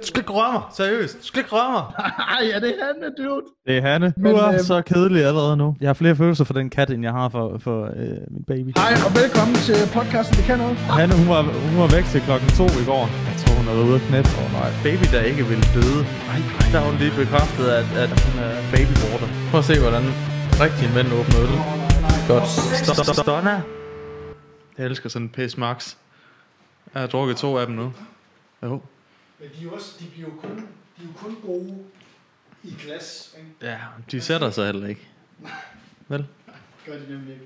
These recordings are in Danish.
Du skal ikke røre mig, seriøst. Du skal ikke røre mig. Ej, er det Hanne, dude? Det er Hanne. Men, Men, du er øh, øh... så kedelig allerede nu. Jeg har flere følelser for den kat, end jeg har for, for øh, min baby. Hej, og velkommen til podcasten, det kan noget. Hanne, hun var, hun var væk til klokken to i går. Jeg tror, hun er ude at knæppe. Oh, nej. Baby, der ikke vil døde. Nej, nej. Der har hun lige bekræftet, at, at hun er babyborder. Prøv at se, hvordan rigtig mænd åbner øl. Godt. Stop, stop, stop. Donna. Jeg elsker sådan en pis max. Jeg har drukket to af dem nu. Jo. Men de, er jo også, de, bliver jo kun, de er jo kun gode i glas, ikke? Ja, de sætter sig heller ikke. Vel? Gør de nemlig ikke.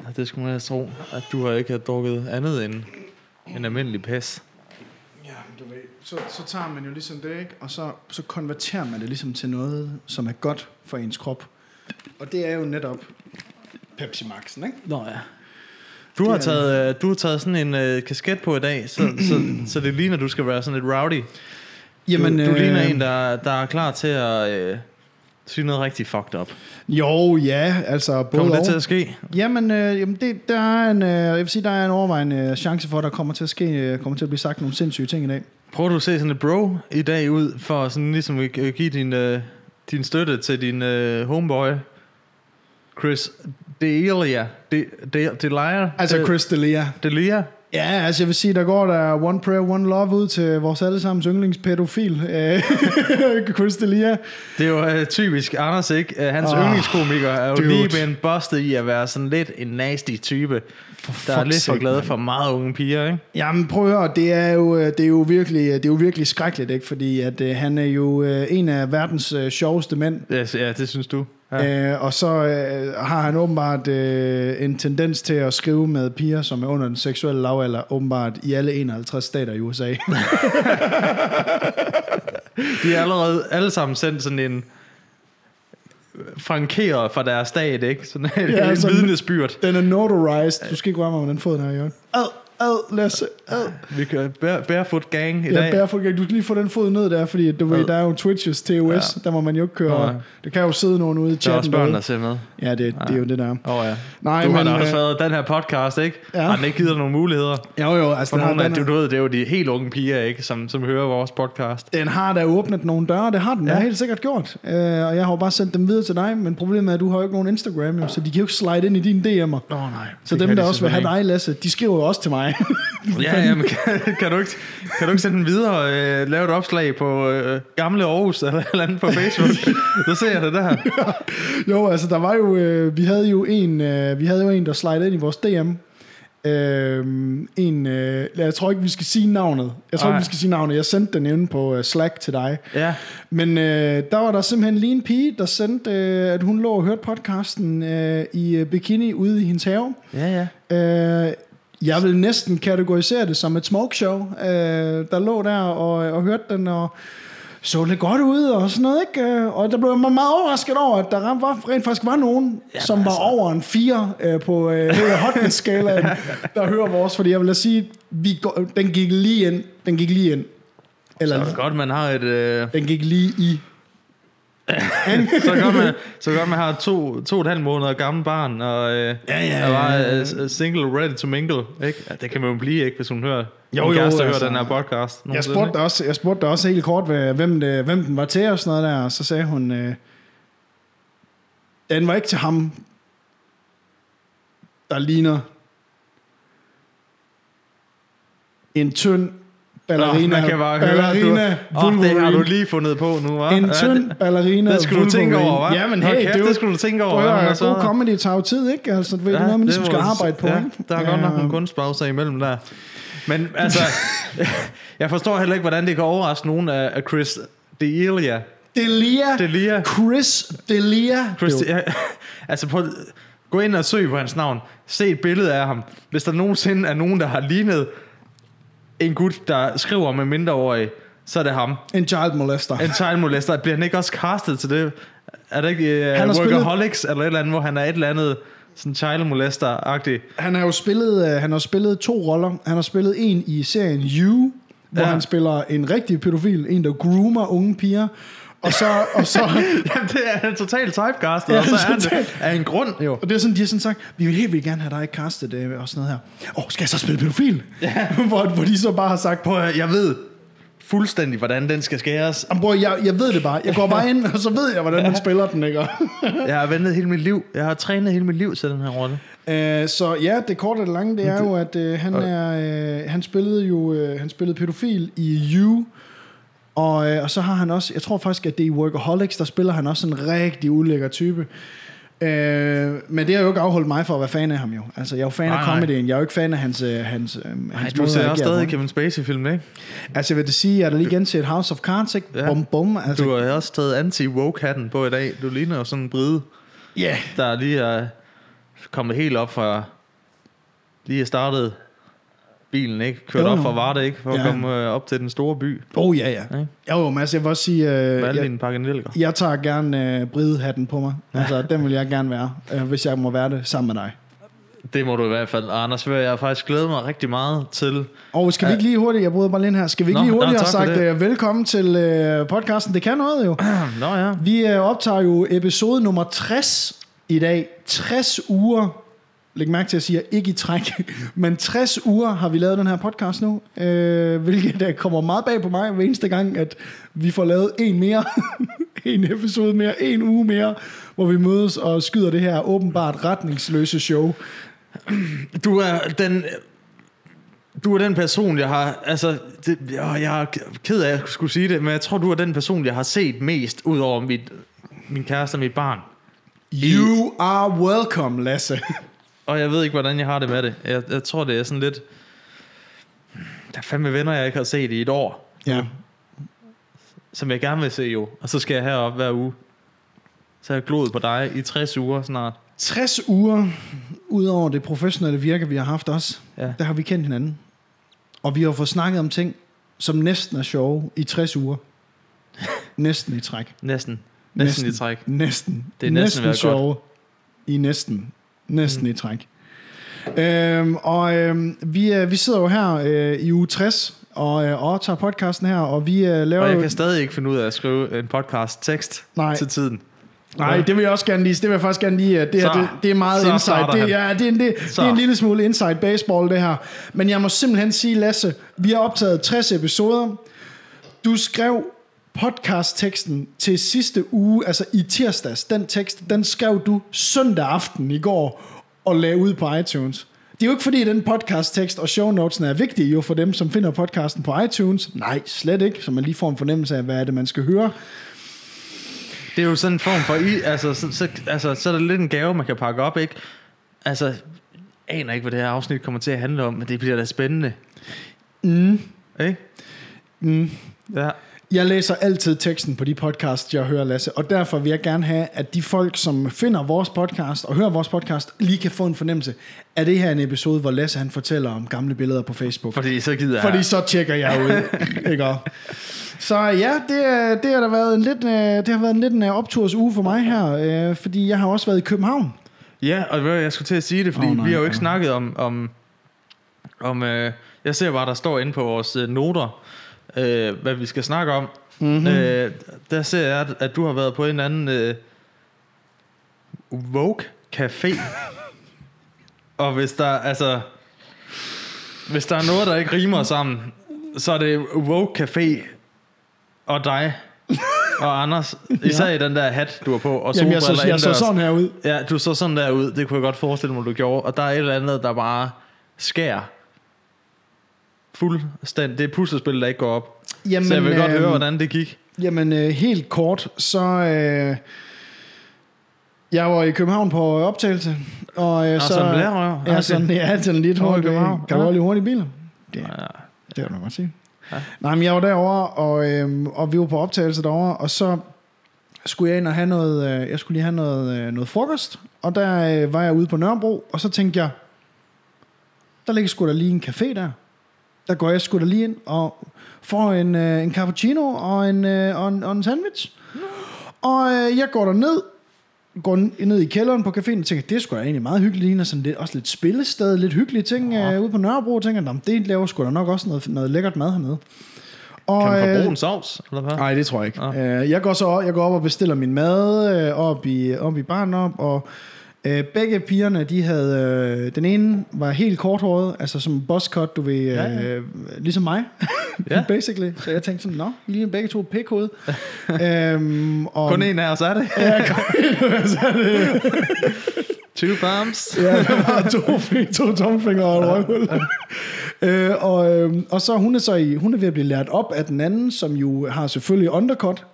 Ja, det skulle man da tro, at du har ikke har drukket andet end en almindelig pas. Ja, men du ved, så, så tager man jo ligesom det, ikke? Og så, så konverterer man det ligesom til noget, som er godt for ens krop. Og det er jo netop Pepsi Maxen, ikke? Nå ja. Du har, Det er taget, øh, du har taget sådan en øh, kasket på i dag, så, så, så det ligner, du skal være sådan lidt rowdy. Jamen, øh, du, du ligner en, der, der er klar til at øh, sige noget rigtig fucked up. Jo, ja, altså både Kommer det og. til at ske? Jamen, øh, jamen det, der er en, øh, jeg vil sige, der er en overvejende øh, chance for, at der kommer til at ske, øh, kommer til at blive sagt nogle sindssyge ting i dag. Prøver du at se sådan et bro i dag ud, for sådan ligesom at gi- give din, øh, din støtte til din øh, homeboy, Chris Delia. De, de, Delia? Altså De- Chris D'Elia. Delia? Ja, altså jeg vil sige, der går der One Prayer, One Love ud til vores allesammens yndlingspædofil, øh, Chris D'Elia. Det er jo øh, typisk Anders, ikke? Øh, hans Ah, oh, yndlingskomiker er jo dude. dude. lige blevet bustet i at være sådan lidt en nasty type, der er fuck's lidt for sake, glad mand. for meget unge piger, ikke? Jamen prøv at høre, det er jo, øh, det er jo, virkelig, det er jo virkelig skrækkeligt, ikke? fordi at, øh, han er jo øh, en af verdens øh, sjoveste mænd, Ja, s- ja det synes du. Ja. ja. øh, og så øh, har han åbenbart øh, en tendens til at skrive med piger, som er under den seksuelle lavalder, åbenbart i alle 51 stater i USA. De er allerede alle sammen sendt sådan en øh, frankeret fra deres stat, ikke? Sådan en, Ja, ja, en sådan- vidnesbyrd. den er notarized, du skal ikke rømme om, hvordan foden er, Jørgen. Ad, ad, lad os se, ad. Vi kører bare, barefoot gang i Ja, dag. barefoot gang. Du skal lige få den fod ned der, fordi at du ved, Ad. der er jo Twitches, TOS, ja. der må man jo ikke køre. Nej. Der kan jo sidde nogen ude i der er også chatten. børn, der derude. ser med. Ja, det, det er jo det der. Åh oh, ja. Nej, Du har men... da øh, også været den her podcast, ikke? Ja. Ja. Har den ikke givet dig nogle muligheder? Jo, jo, altså For den har, nogle af, den, du, har, du ved, det er jo de helt unge piger, ikke? Som, som hører vores podcast. den har da åbnet nogle døre, det har den ja. Ja. helt sikkert gjort. Øh, og jeg har jo bare sendt dem videre til dig, men problemet er, at du har jo ikke nogen Instagram, jo, så de kan jo ikke slide ind i dine DM'er. Åh oh, nej. Så dem, der også vil have dig, Lasse, de skriver jo også til mig. Ja, ja men kan, kan, du ikke, kan du ikke sende den videre og øh, lave et opslag på øh, gamle Aarhus eller et eller andet på Facebook? Så ser jeg det der. jo, altså der var jo, øh, vi havde jo en, øh, vi havde jo en, der slidede ind i vores DM. Øh, en, øh, jeg tror ikke, vi skal sige navnet. Jeg tror ikke, Nej. vi skal sige navnet. Jeg sendte den inde på øh, Slack til dig. Ja. Men øh, der var der simpelthen lige en pige, der sendte, øh, at hun lå og hørte podcasten øh, i øh, bikini ude i hendes have. Ja, ja. Øh, jeg vil næsten kategorisere det som et smoke show, øh, der lå der og, og hørte den og så lidt godt ud og sådan noget, ikke? Øh, Og der blev man meget overrasket over, at der ram- var, rent faktisk var nogen, ja, som var altså. over en 4 øh, på øh, hotness-skalaen, der hører vores, fordi jeg vil da sige, vi går, den gik lige ind, den gik lige ind, Så eller er det godt, man har et... Øh, den gik lige i. så er det godt, man, så er det godt, man har to, to og et halvt måneder gammel barn, og øh, Ja, ja, er bare ja, ja. øh, single, ready to mingle. Ikke? Ja, det kan man jo blive, ikke, hvis hun hører Jo, jo, jo, jo, kæreste, altså, altså. hører den her podcast. Jeg nogensinde, spurgte, ikke? dig også, jeg spurgte dig også helt kort, hvad- hvem, det, hvem den var til og sådan noget der, og så sagde hun, øh, den var ikke til ham, der ligner en tynd Nå, ballerina. man kan bare ballerina høre, du, oh, det har du lige fundet på nu, hva'? en Ja, tynd det- ballerina det skulle du tænke Wolverine. over, hva'? Ja, men Hold hey, kæft, det, det skulle du tænke over. hva', er men jo så- god comedy, tager jo tid, ikke? Altså, du ved, ja, det er noget, man ligesom det skal må- arbejde på, ja, ikke? Der er godt nok Øhm, nogle kunstpauser imellem der. Men altså, jeg forstår heller ikke, hvordan det kan overraske nogen af af Chris D'Elia. Delia. D'Elia. Chris Delia. Chris D'Elia. Altså, på, gå ind og søg på hans navn. Se et billede af ham. Hvis der nogensinde er nogen, der har lignet en gut, der skriver med mindreårige, så er det ham. En child molester. En child molester. Bliver han ikke også castet til det? Er det ikke Han uh, har spillet- Workaholics eller et eller andet, hvor han er et eller andet sådan child molester-agtig? Han har jo spillet, øh, han har spillet to roller. Han har spillet en i serien You, hvor ja. Ja. han spiller en rigtig pædofil, en der groomer unge piger. Og så, og så Jamen, det er en total typecastet, Ja, ja, og så er han totalt. det af en grund, jo. og det er sådan, de har sådan sagt, vi vil helt vildt gerne have dig castet øh, og sådan noget her. Åh, skal jeg så spille pædofil? Ja. hvor, hvor de så bare har sagt, Prøv at, høre, jeg ved fuldstændig, hvordan den skal skæres. Jamen, bror, jeg, jeg ved det bare. Jeg går bare ind, og så ved jeg, hvordan man spiller den, ikke? Jeg har ventet hele mit liv. Jeg har trænet hele mit liv til den her rolle. Øh, så ja, det korte og det lange, det er jo, at øh, han, er, øh, han spillede jo øh, han spillede pædofil i You, og, øh, og så har han også, jeg tror faktisk, at det er i Workaholics, der spiller han også en rigtig ulækker type. Øh, men det har jo ikke afholdt mig fra at være fan af ham jo. Altså, jeg er jo fan Nej, af nej. comedyen, jeg er jo ikke fan af hans, øh, hans, øh, hans Ej, du måde at ser agere også stadig på. Kevin Spacey-film, ikke? Altså, jeg vil det sige, jeg har da lige genset House of Cards, ikke? Ja. Ja. Bum, bum. Altså, Du har også taget anti-woke-hatten på i dag. Du ligner jo sådan en bride, ja. Yeah. der lige er kommet helt op fra... Lige er startet bilen, ikke? Kørt Jo, op jo. fra Varde, ikke? For at Ja. komme øh, op til den store by. Oh, ja, ja. Ikke? Jo, jo, men altså, jeg vil også sige... Øh, Med alle jeg, dine pakkenælker. Jeg tager gerne øh, bridehatten på mig. Altså, den vil jeg gerne være, øh, hvis jeg må være det sammen med dig. Det må du i hvert fald. Og Anders, ved jeg jeg har faktisk glædet mig rigtig meget til... Og skal vi ikke lige hurtigt, jeg bryder bare lige ind her, skal vi ikke Nå, lige hurtigt nå, have tak for sagt det. øh, velkommen til øh, podcasten? Det kan noget jo. Nå ja. Vi øh, optager jo episode nummer 60 i dag. 60 uger. Læg mærke til, at jeg siger ikke i træk. Men 60 uger har vi lavet den her podcast nu. Øh, hvilket der kommer meget bag på mig hver eneste gang, at vi får lavet en mere. en episode mere. En uge mere. Hvor vi mødes og skyder det her åbenbart retningsløse show. Du er den... Du er den person, jeg har... Altså, det, jeg, jeg er ked af, at jeg skulle sige det, men jeg tror, du er den person, jeg har set mest, ud over mit, min kæreste og mit barn. You are welcome, Lasse. Og jeg ved ikke, hvordan jeg har det med det. Jeg, jeg tror, det er sådan lidt... Der er fandme venner, jeg ikke har set i et år, ja. som jeg gerne vil se jo. Og så skal jeg herop hver uge. Så har jeg gloet på dig i 60 uger snart. 60 uger, udover det professionelle virke, vi har haft også, Ja. ja. der har vi kendt hinanden. Og vi har fået snakket om ting, som næsten er sjove i 60 uger. næsten i træk. Næsten. Næsten, i træk. Næsten. Det er næsten ved at være sjove. I næsten. Næsten mm. i træk. Øhm, og øhm, vi, øh, vi sidder jo her øh, i uge 60 og, øh, og tager podcasten her, og vi øh, laver Og jeg jo- kan stadig ikke finde ud af at skrive en podcast tekst Nej. til tiden. Nej, Ja. det vil jeg også gerne vise. Det vil jeg faktisk gerne lige. øh, Det, her, Så- det, det er meget så inside. starter Det, han. ja, det, er en, det, det Så. er en lille smule inside baseball, det her. Men jeg må simpelthen sige, Lasse, vi har optaget 60 episoder. Du skrev podcastteksten til sidste uge, altså i tirsdags. Den tekst, den skrev du søndag aften i går og lagde ud på iTunes. Det er jo ikke fordi, den podcasttekst og shownotesen er vigtige jo for dem, som finder podcasten på iTunes. Nej, slet ikke, så man lige får en fornemmelse af, hvad er det, man skal høre. Det er jo sådan en form for... I, altså, så, så, altså, så er det lidt en gave, man kan pakke op, ikke? Altså, jeg aner ikke, hvad det her afsnit kommer til at handle om, men det bliver da spændende. Mm. Ikke? Mm. Ja. Jeg læser altid teksten på de podcasts, jeg hører, Lasse, og derfor vil jeg gerne have, at de folk, som finder vores podcast og hører vores podcast, lige kan få en fornemmelse af det her er en episode, hvor Lasse han fortæller om gamle billeder på Facebook. Fordi så gider jeg... Fordi så tjekker jeg ud, ikke også? Så ja, det, er- det har da været en lidt, øh, det har været en lidt en øh, opturs uge for mig her, øh, fordi jeg har også været i København. Ja, og hvad jeg skulle til at sige det, fordi Åh, oh, nej, vi har jo ja. ikke snakket om... om, om øh, jeg ser bare, der står inde på vores øh, noter, øh, hvad vi skal snakke om. Mhm. Mm-hmm. Øh, der ser jeg, at, at du har været på en eller anden øh, Vogue Café. og hvis der, altså, hvis der er noget, der ikke rimer sammen, så er det Vogue Café og dig og Anders. Især ja. i den der hat, du har på. Og Jamen, jeg så, solbriller jeg så indendørs. sådan her ud. Ja, du så sådan der ud. Det kunne jeg godt forestille mig, du gjorde. Og der er et eller andet, der bare skærer fuldstændig. Det er et puslespil, der ikke går op. Jamen, Jamen, så jeg vil godt øhm, høre, hvordan det gik. Jamen øh, helt kort, så øh, jeg var i København på optagelse. Og, øh, Nå, så, som lærerrøv. Ja, Okay. sådan, ja, sådan lidt Over i hurtigt. øh, København. Kan du Ja. holde i hurtige biler? Det, Altså, Ja. det kan du godt sige. Ja. Ja. Nej, men jeg var derovre, og, øhm, og vi var på optagelse derovre, og så skulle jeg ind og have noget, øh, jeg skulle lige have noget, øh, noget frokost, og der øh, var jeg ude på Nørrebro, og så tænkte jeg, der ligger sgu da lige en café der. Der går jeg sgu da lige ind og får en, øh, en cappuccino og en, øh, og en, og en sandwich. Og øh, jeg går derned, går n- ned i kælderen på caféen og tænker, det er sgu da egentlig meget hyggeligt, ligner sådan lidt, også lidt spillested, lidt hyggelige ting øh, ude på Nørrebro, og tænker, "Nå, men det laver sgu da nok også noget, noget lækkert mad hernede. Og, Kan man få øh, brun sovs, eller hvad? Nej, det tror jeg øh, ikke. Ah. Jeg går så op, jeg går op og bestiller min mad øh, op i, op i baren op, og Øh, begge pigerne, de havde... Øh, den ene var helt korthåret, altså som en boss cut, du ved... Øh, ja, Ja, ja. ja. Ligesom mig, Ja. ja. basically. Så jeg tænkte sådan, nå, I ligner begge to pikhoved. øhm, og, Kun en af os er det. Ja, kun en, så er det. Two bombs. Ja, der var to, fing- to tommelfingre og et røvhul. øh, og, øhm, og så hun er så i, hun er ved at blive lært op af den anden, som jo har selvfølgelig undercut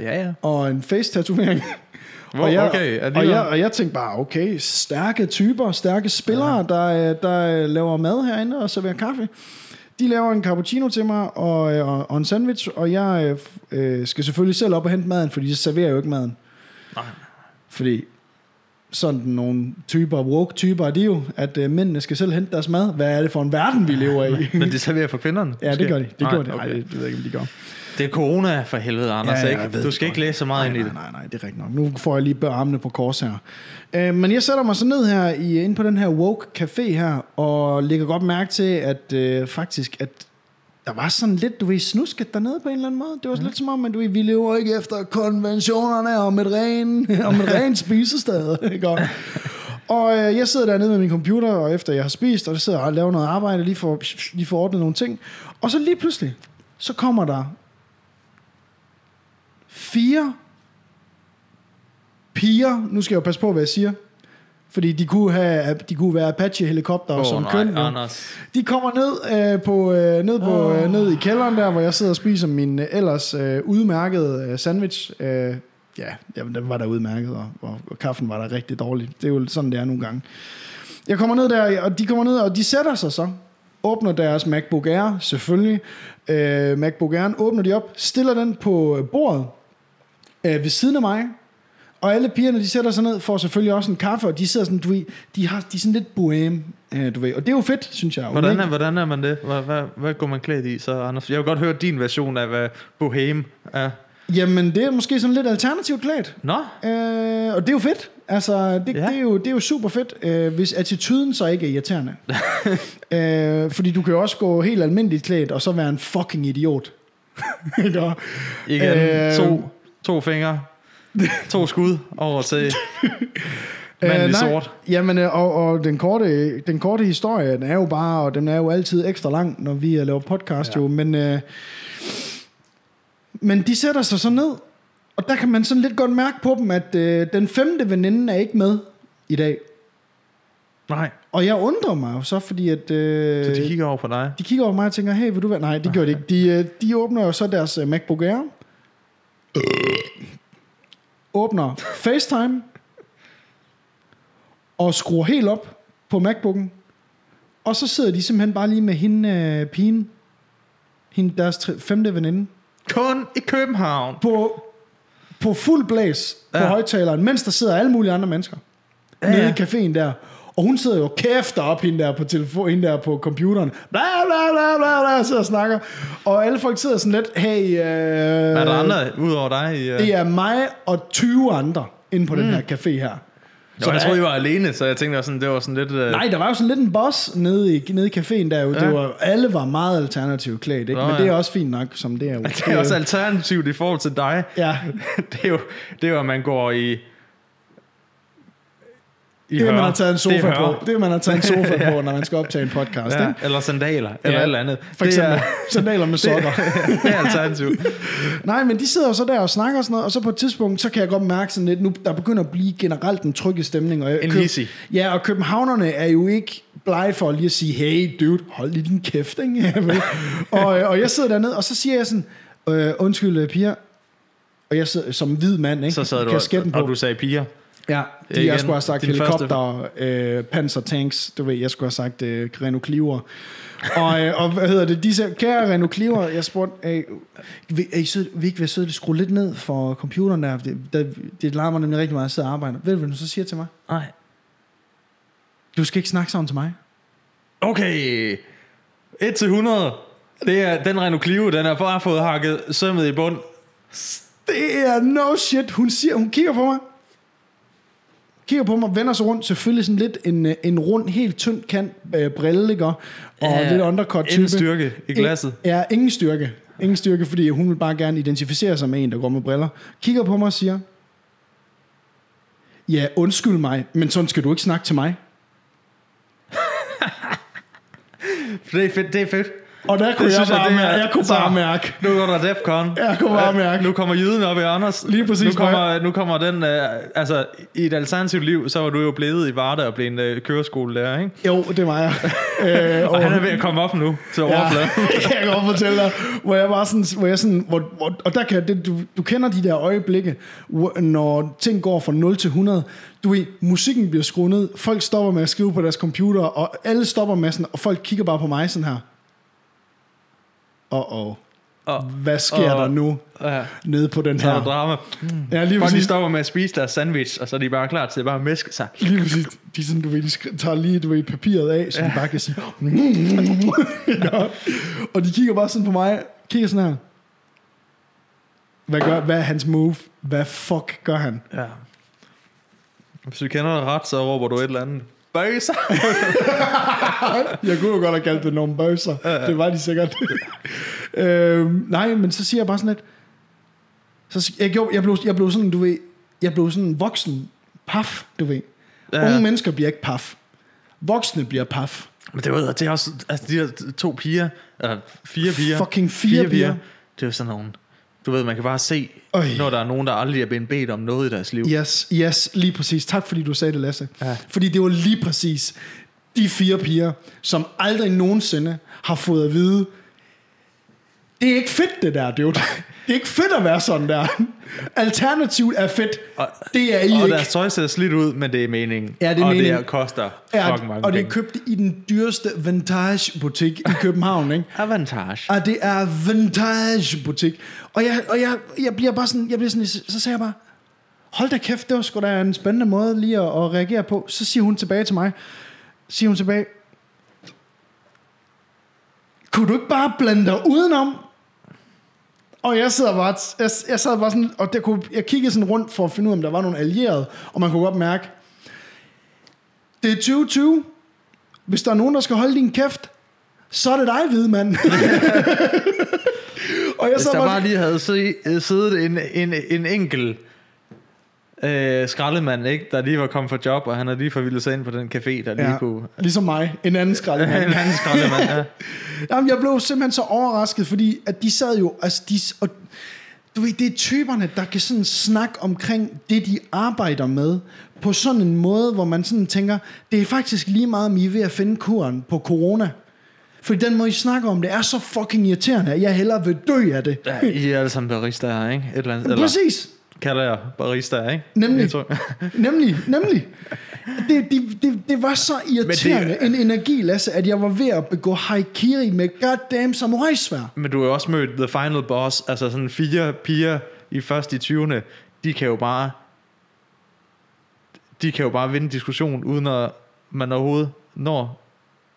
Ja, ja. og en face-tatovering. Wow, okay, og, alligevel. jeg, og jeg tænkte bare, okay, stærke typer, stærke spillere, ja. der, øh, der øh, laver mad herinde og serverer kaffe. De laver en cappuccino til mig og, øh, og, og en sandwich, og jeg øh, f- øh, skal selvfølgelig selv op og hente maden, fordi de serverer jo ikke maden. Nej. Fordi sådan nogle typer, woke typer, er de jo, at øh, mændene skal selv hente deres mad. Hvad er det for en verden, vi lever i? Men det serverer for kvinderne? ja, det gør de. Det Nej, gør de. Ej, okay. det, det ved jeg ikke, om de gør. Det er corona for helvede, Anders. Ja, ja, ikke? jeg ved du det skal godt. ikke læse så meget ind i Nej, det. nej, nej, nej, det er rigtigt nok. Nu får jeg lige bør armene på kors her. Øh, men jeg sætter mig så ned her i, inde på den her woke café her, og lægger godt mærke til, at øh, faktisk, at der var sådan lidt, du ved, snusket dernede på en eller anden måde. Det var mm. Mhm. lidt som om, at du ved, vi lever ikke efter konventionerne om et ren, om et ren spisested. Ikke? Og- Og øh, jeg sidder dernede med min computer, og efter jeg har spist, og så sidder jeg og laver noget arbejde, lige for, lige for ordnet nogle ting. Og så lige pludselig, så kommer der fire piger, nu skal jeg jo passe på, hvad jeg siger, fordi de kunne, have, de kunne være Apache-helikopter oh, Åh, som nej, køn. jo. Anders. De kommer ned, øh, på, øh, ned, på, oh. øh, ned i kælderen der, hvor jeg sidder og spiser min øh, ellers øh, udmærkede øh, sandwich. Øh, ja, jamen, den var der udmærket, og, og, og kaffen var der rigtig dårlig. Det er jo sådan, det er nogle gange. Jeg kommer ned der, og de kommer ned, og de sætter sig så. Åbner deres MacBook Air, selvfølgelig. Øh, MacBook Air'en åbner de op, stiller den på øh, bordet øh, ved siden af mig. Og alle pigerne, de sætter sig ned, får selvfølgelig også en kaffe, og de sidder sådan, du ved, de, har, de er sådan lidt bohem, øh, du ved. Og det er jo fedt, synes jeg. Hvordan Unikt. er, hvordan er man det? Hvad, hvad, hvad går man klædt i så, Anders? Jeg vil godt høre din version af, hvad bohem er. Jamen, det er måske sådan lidt alternativt klædt. Nå, Øh, og det er jo fedt. Altså, det, ja. Ja. det, er, jo, det er jo super fedt, øh, hvis attituden så ikke er irriterende. øh, fordi du kan jo også gå helt almindeligt klædt, og så være en fucking idiot. Ikke? Og- igen. Øh, Øh, to, to fingre. To skud over til manden i Øh, nej. sort. Jamen, øh, og, og den, korte, den korte historie, den er jo bare, og den er jo altid ekstra lang, når vi øh, laver podcast ja. Ja. jo, men, øh, men de sætter sig så ned, og der kan man sådan lidt godt mærke på dem, at øh, den femte veninde er ikke med i dag. Nej, Og jeg undrer mig jo så, fordi at... Øh, så de kigger over på dig. de kigger over mig og tænker, hey, vil du være... Nej, det gjorde de ikke. De, øh, de åbner jo så deres øh, MacBook Air. Øh. Åbner FaceTime. Og skruer helt op på MacBook'en. Og så sidder de simpelthen bare lige med hende, øh, pigen, hende, deres tri- femte veninde, Kun i København. på, på fuld blæs på ja. Ja. højtaleren, mens der sidder alle mulige andre mennesker ja. Ja, nede ja. i caféen der. Og hun sidder jo og kæfter op hende der på telefon, hende der på computeren. Bla bla bla bla bla, sidder og snakker. Og alle folk sidder sådan lidt, hey... Øh, Er der andre ud over dig? I, øh? Det er mig og 20 andre inde på mm. den her café her. Nå, jeg troede, I var alene, så jeg tænkte, også sådan, det var sådan lidt... Øh, Nej, der var jo sådan lidt en boss nede i, nede i caféen der. Jo. Ja. Ja. Det var, alle var meget alternativt klædt, ikke? Nå, Men det er ja. også fint nok, som det er. Jo. Det er også alternativt i forhold til dig. Ja. det, er jo, det er jo, at man går i... i Det er, man hør. har taget en sofa Det er hør. på. Det er, man har taget en sofa på, når man skal optage en podcast. Ja, Ikke? eller sandaler, eller Ja, alt andet. For Det eksempel er- sandaler med sokker. Det, det er alternativt. Nej, men de sidder jo så der og snakker og sådan noget, og så på et tidspunkt, så kan jeg godt mærke sådan lidt, nu der begynder at blive generelt en trygge stemning. Og jeg- En Køb- hissig. Ja, og københavnerne er jo ikke blege for lige at sige, hey dude, hold lige din kæft, ikke? Ja, vel? og, øh, og jeg sidder dernede, og så siger jeg sådan, øh, undskyld øh, piger, og jeg sidder som hvid mand, ikke? Så sad du Kasketten og, på. og du sagde piger. Ja, de, Igen, jeg skulle have sagt din helikopter, øh, panser, tanks, du ved, jeg skulle have sagt øh, Renault Cliver. Og, øh, og hvad hedder det, de sagde, kære Renault Cliver, jeg spurgte, øh, vil, er I sød, vil I ikke være søde, at skrue lidt ned for computeren der, for det, der, det larmer nemlig rigtig meget, at jeg sidder og arbejder. Ved du, hvad du så siger til mig? Nej. Du skal ikke snakke sådan til mig. Okay. 1 til 100. Det er den Renault Clio, den har bare fået hakket sømmet i bund. Det er no shit. Hun, siger, hun kigger på mig. Kigger på mig, vender sig rundt. Selvfølgelig sådan lidt en, øh, en rund, helt tynd kant øh, brille, ikke? Og Ja, lidt undercut type. Ingen styrke i glasset. In, ja, ingen styrke. Ingen styrke, fordi hun vil bare gerne identificere sig med en, der går med briller. Kigger på mig og siger, ja, undskyld mig, men sådan skal du ikke snakke til mig. Det er fedt, det er fedt. Og der kunne Det jeg, synes jeg, bare, det er- mærke, jeg kunne bare så- mærke. Nu går der DEFCON. Øh, Jeg kunne bare mærke. Nu kommer jyden op i Anders. Lige præcis, Nu kommer, nu kommer den... Øh, altså, i et alternativt liv, så var du jo blevet i Varde og blevet en øh, køreskolelærer, ikke? Jo, det var jeg. øh, Og han er ved at komme op nu til overfladen. Ja, det kan jeg godt fortælle dig. Hvor jeg var sådan, hvor jeg sådan hvor, hvor, og der kan jeg- det, du, du kender de der øjeblikke, hvor, når ting går fra 0 til 100. Du ved, musikken bliver skruet ned, folk stopper med at skrive på deres computer, og alle stopper med sådan, og folk kigger bare på mig sådan her. Åh, Og, hvad sker Og- der nu ja, nede på den så er der her? drama. Ja, lige Folk de præcis. stopper med at spise deres sandwich, og så er de bare klar til at bare mæske sig. Lige præcis. De, er sådan, du ved, de skri- tager lige du ved, papiret af, så ja. de bare kan sige... "Mm, ja. Og de kigger bare sådan på mig, kigger sådan her. Hvad, gør, hvad er hans move? Hvad fuck gør han? Ja. Hvis du kender det ret, så råber du et eller andet. Bøjser! Jeg kunne jo godt have kaldt det nogle bøjser. Det var de sikkert. øhm, nej, men så siger jeg bare sådan lidt... Så, sig- jeg, gjorde, jeg, blev, jeg blev sådan, du ved... Jeg blev sådan voksen paf, du ved. Ja. Unge mennesker bliver ikke paf. Voksne bliver paf. Men det, var, det er også, altså de her to piger, eller fire piger. Fucking fire piger. Det er jo sådan nogle, du ved, man kan bare se, Øj. når der er nogen, der aldrig er blevet bedt om noget i deres liv. Yes, yes, lige præcis. Tak fordi du sagde det, Lasse. Ja. Ja. Fordi det var lige præcis de fire piger, som aldrig nogensinde har fået at vide, det er ikke fedt det der, dude. Det er ikke fedt at være sådan der. Alternativt er fedt. Og- det er I Og ikke. deres tøj ser slidt ud, men det er meningen. Ja, det er og meningen. det koster Ja, fucking mange og det er penge. købt i den dyreste vintage-butik i København, ikke? Avantage. Og det er vintage butik. Og jeg, og jeg, jeg bliver bare sådan, jeg bliver sådan, så sagde jeg bare, hold da kæft, det var sgu da en spændende måde lige at, at reagere på. Så siger hun tilbage til mig, siger hun tilbage, kunne du ikke bare blande dig udenom? Og jeg sidder bare, jeg, jeg sad bare sådan, og der kunne, jeg kiggede sådan rundt for at finde ud af, om der var nogle allierede, og man kunne godt mærke, det er 2020, hvis der er nogen, der skal holde din kæft, så er det dig, hvide mand. og jeg Hvis sad der bare, bare lige havde se- øh, siddet en, en, en enkelt øh, skraldemand, ikke, der lige var kommet fra job, og han havde lige forvildet sig ind på den café, der lige ja, kunne... ligesom mig, en anden skraldemand. en anden skraldemand, ja. Jamen, jeg blev simpelthen så overrasket, fordi at de sad jo, altså de, og, du ved, det er typerne, der kan sådan snakke omkring det, de arbejder med, på sådan en måde, hvor man sådan tænker, det er faktisk lige meget, om I er ved at finde kuren på corona. Fordi den måde, I snakker om det, er så fucking irriterende, at jeg hellere vil dø af det. ja. I er alle sammen baristaer, ikke? Et eller andet, eller Præcis. kalder jeg baristaer, ikke? Nemlig. Jeg tror- Nemlig, nemlig. Det, det, det, det var så irriterende det... en energi, Lasse, at jeg var ved at begå haikiri med goddamn samurai-svær. Men du har jo også mødt The Final Boss, altså sådan fire piger i først i 20'erne, de kan jo bare de kan jo bare vinde diskussion uden at man overhovedet når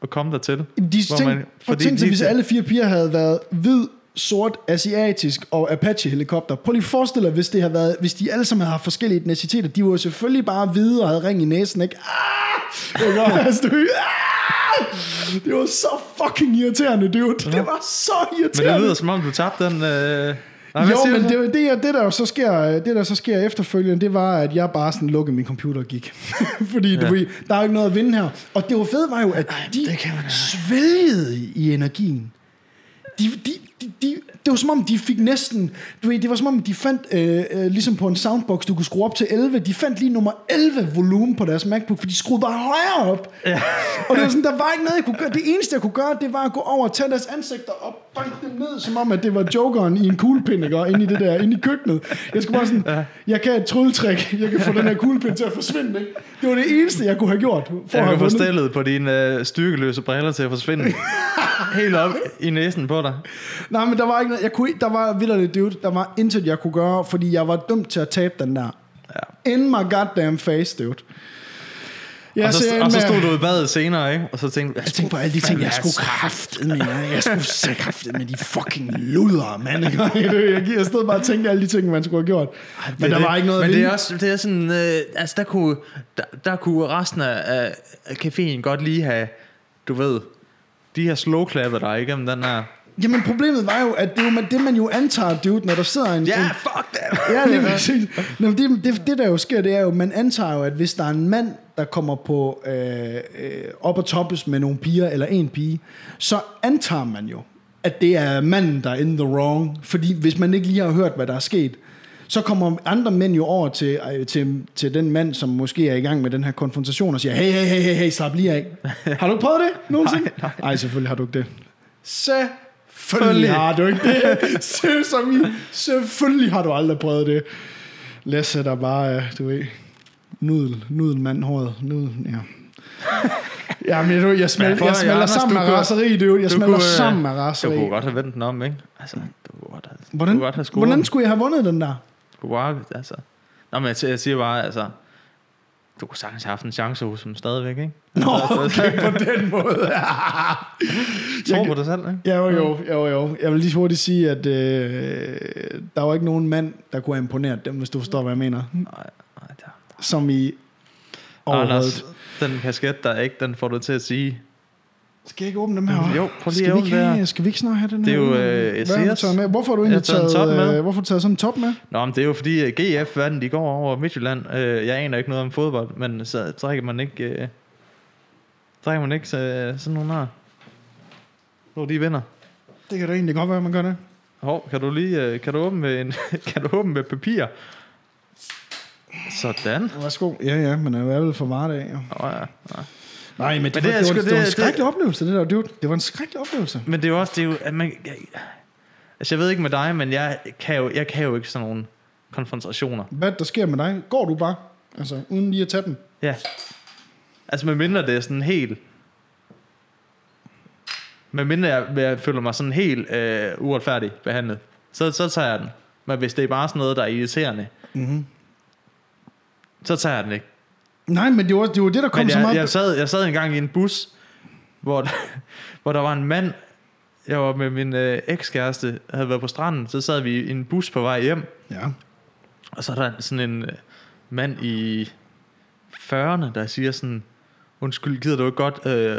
at komme dertil. De Hvor tænk, man- man, fordi tænk sig, de- hvis alle fire piger havde været hvid, sort, asiatisk og Apache-helikopter. Prøv lige at forestille dig, hvis, det havde været, hvis de alle sammen havde haft forskellige etniciteter. De var jo selvfølgelig bare hvide og havde ring i næsen, ikke? Ah! Det var, altså, du- ah! det var så fucking irriterende, dude. Det var så Men det irriterende. lyder som om, du tabte den... Øh... Nej, hvad jo, siger men du? det, det, er- det, der jo så sker, øh, det, der så sker efterfølgende, det var, at jeg bare sådan lukkede min computer og gik. Fordi Ja. ja. du ved, der er jo ikke noget at vinde her. Og det var fede var jo, at de det kan man ikke. svælgede i energien. De, de, de, de, det var som om, de fik næsten... Du ved, det var som om, de fandt, øh, øh, ligesom på en soundbox, du kunne skrue op til 11, de fandt lige nummer 11 volumen på deres MacBook, for de skruede bare højere op. Ja. Og det var sådan, der var ikke noget, jeg kunne gøre. Det eneste, jeg kunne gøre, det var at gå over og tage deres ansigter og banke dem ned, som om, at det var jokeren i en kuglepind, ikke? Og inde i det der, inde i køkkenet. Jeg skulle bare sådan, jeg kan et trylletrik, jeg kan få den her kuglepind til at forsvinde, ikke? Det var det eneste, jeg kunne have gjort, for at Jeg have kan få vundet. stillet på dine øh, styrkeløse briller til at forsvinde helt op i næsen på dig. Nej, men der var ikke noget, jeg kunne, ikke- der var vildt dude, der var intet, jeg kunne gøre, fordi jeg var dømt til at tabe den der. Ja. In my goddamn face, dude. Jeg Og så, ser ind og så med- stod du i badet senere, ikke? Og så tænkte Jeg tænkte på alle de ting, jeg skulle kraftede med. Jeg skulle så kraftede med de fucking luder, mand. ikke? Jeg jeg stod bare og tænkte alle de ting, man skulle have gjort. Men der det, var ikke noget at Men det vinde. er også det er sådan, øh, altså der kunne, der, der kunne resten af, af- af caféen godt lige have, du ved, de her slowklapper der igennem den her. Jamen problemet var jo, at det er jo man- det, man jo antager, dude, når der sidder en... en fuck that! ja, lige præcis. Nå, men det, det, det, der jo sker, det er jo, man antager jo, at hvis der er en mand, der kommer på øh, øh, op og toppes med nogle piger, eller en pige, så antager man jo, at det er manden, der er in the wrong. Fordi hvis man ikke lige har hørt, hvad der er sket, så kommer andre mænd jo over til, øh, til, til den mand, som måske er i gang med den her konfrontation, og siger, hey, hey, hey, hey, hey slap lige af. Har du prøvet det nogensinde? Nej, nej. selvfølgelig har du ikke det. Selvfølgelig har du ikke det. Se, som i, selvfølgelig har du aldrig prøvet det. Lasse, der bare er, du ved, nudel, nudelmandhåret, nudel, ja. Jamen, jeg, jeg, Men smelter, prøv, jeg smelter Anders, sammen du med kunne- raseri, du. Jeg du smelter kunne, øh, sammen med Du raseri. kunne godt have vendt den om, ikke? Altså, du kunne godt have, du Hvordan, kunne godt have scoret. hvordan skulle jeg have vundet den der? Du kunne godt, altså. Nå, men jeg, jeg siger bare, altså... Du kunne sagtens have haft en chance hos dem stadigvæk, ikke? Nå, Altså, okay, på den måde. Tror på dig selv, ikke? Ja, jo, jo, jo, jo. Jeg vil lige hurtigt sige, at øh, der var ikke nogen mand, der kunne have imponeret dem, hvis du forstår, hvad jeg mener. Nej, nej, der. Som i Anders, overhovedet. den kasket, der er ikke, den får du til at sige. Skal jeg ikke åbne dem her? Jo, prøv lige at skal vi åbne ikke, det her. have, skal vi ikke snart have den Det er her? jo, øh, Hvad har du Sears. taget med? Hvorfor har du egentlig Jeg har taget, taget en top med. øh, hvorfor har du taget sådan en top med? Nå, men det er jo fordi, øh, GF vandt i går over Midtjylland. Øh, Jeg aner ikke noget om fodbold, men så drikker man ikke... øh, Drikker man ikke så, øh, sådan nogen her. Når de vinder. Det kan da egentlig godt være, man gør det. Hov, kan du lige... øh, Kan du åbne med, en, kan du åbne med papir? Sådan. Værsgo. Ja, ja, men jeg er vel for vardag. Jo. Nå, ja. Nå. Nej, men det, det var, er det, sgu- var, det, var en det- skrækkelig det- oplevelse, det der. Dude. Det var en skrækkelig oplevelse. Men det er jo også, det er jo, at man, jeg, altså jeg ved ikke med dig, men jeg kan jo, jeg kan jo ikke sådan nogle konfrontationer. Hvad der sker med dig? Går du bare? Altså, uden lige at tage den. Ja. Altså med mindre det er sådan helt, med mindre jeg, jeg føler mig sådan helt øh, uretfærdig behandlet, så, så tager jeg den. Men hvis det er bare sådan noget, der er irriterende, Mm-hmm. så tager jeg den ikke. Nej, men det var det, var det der kom Men så jeg, meget. jeg, sad, jeg sad engang i en bus, hvor, hvor der var en mand, jeg var med min øh, ekskæreste, havde været på stranden, så sad vi i en bus på vej hjem, Ja. Og så er der sådan en øh, mand i 40'erne, der siger sådan, undskyld, gider du ikke godt, øh,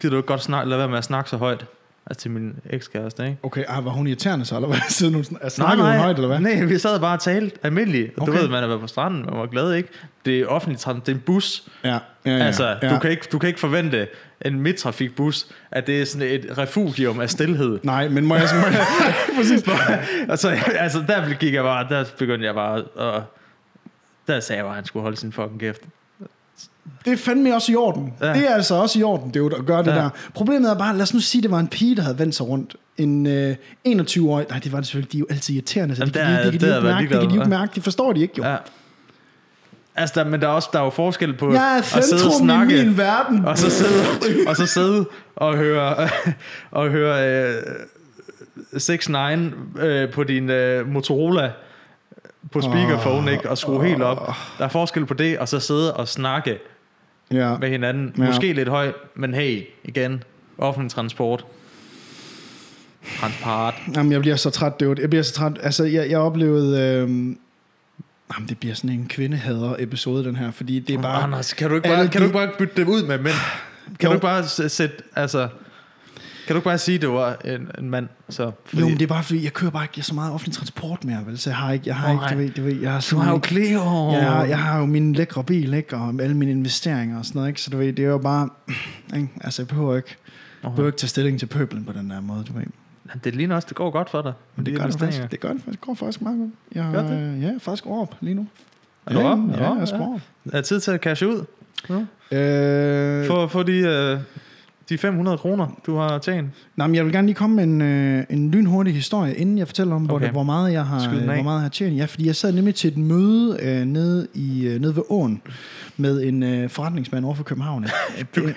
gider du ikke godt snak, lade være med at snakke så højt? Altså til min ekskæreste, ikke? Okay, ah, var hun irriterende så, eller hvad? Siden hun sn- snakkede hun højt, eller hvad? Nej, vi sad bare og talte almindeligt. Okay. Du Okay. ved, man har været på stranden, man var glad, ikke? Det er offentlig transport, det er en bus. Ja, ja, ja. Ja, altså, ja. Du, kan ikke, du kan ikke forvente en midtrafikbus, at det er sådan et refugium af stillhed. Nej, men må jeg... Må jeg præcis. Og så, altså, der gik jeg bare, der begyndte jeg bare at... Der sagde jeg bare, at han skulle holde sin fucking kæft. Det er fandme også i orden. Ja. Ja. Det er altså også i orden, det er jo at gøre det Ja. ja. der. Problemet er bare, lad os nu sige, det var en pige, der havde vendt sig rundt. En øh, 21-årig. Nej, det var det selvfølgelig. De er jo altid irriterende, så Jamen, det der kan de er- ikke- det kan der de er jeg ikke mærke. Det ligeglad kan de med. ikke mærke. Det forstår de ikke, jo. Ja. Altså, der, men der er, også, der er jo forskel på Jeg er centrum i min verden. og så sidde og, så sidde og høre, og høre øh, 6 9 øh, på din øh, Motorola på speakerphone, ikke? Og skrue helt op. Der er forskel på det, og så sidde og snakke Ja. med hinanden. Ja. Måske lidt højt, men hey, igen, offentlig transport. Transport. Jamen, jeg bliver så træt, det Jeg bliver så træt. Altså, jeg, jeg oplevede... Øh... Jamen, det bliver sådan en kvindehader-episode, den her. Fordi det er bare... Anders, kan du ikke Alle bare, kan du de- ikke bare bytte dem ud med mænd? Kan Jo. du ikke bare s- sætte, altså... Kan du ikke bare sige, det var en, en mand? Så, fordi, Jo, men det er bare fordi, jeg kører bare ikke jeg er så meget offentlig transport mere, vel? Så jeg har ikke, jeg har Nej. ikke, du ved, du ved, jeg har du sådan har jo ikke- Cleo. Jeg har, jeg har jo min lækre bil, ikke? Og alle mine investeringer og sådan noget, ikke? Så du ved, det er jo bare... Ikke? Altså, jeg behøver ikke, jeg behøver ikke tage stilling til pøblen på den der måde, du ved. Det ligner også, det går godt for dig. Men det, Lige gør det, investeringer. faktisk, det gør det faktisk. Det går faktisk meget godt. Jeg, Gør gør det? det? Ja, jeg er faktisk op lige nu. Er du ja, oppe? Er du Ja, jeg oppe? er sgu op. Er det tid til at cashe ud? Øh, For, for de, øh, de 500 kroner, du har tjent. nej, men jeg vil gerne lige komme med en, øh, en lynhurtig historie, inden jeg fortæller om, okay. hvor, Okay. det, hvor, meget jeg har, Skyd den af. hvor meget jeg har tjent. Ja, fordi jeg sad nemlig til et møde øh, nede, i, øh, nede ved åen med en øh, forretningsmand over for København. du en,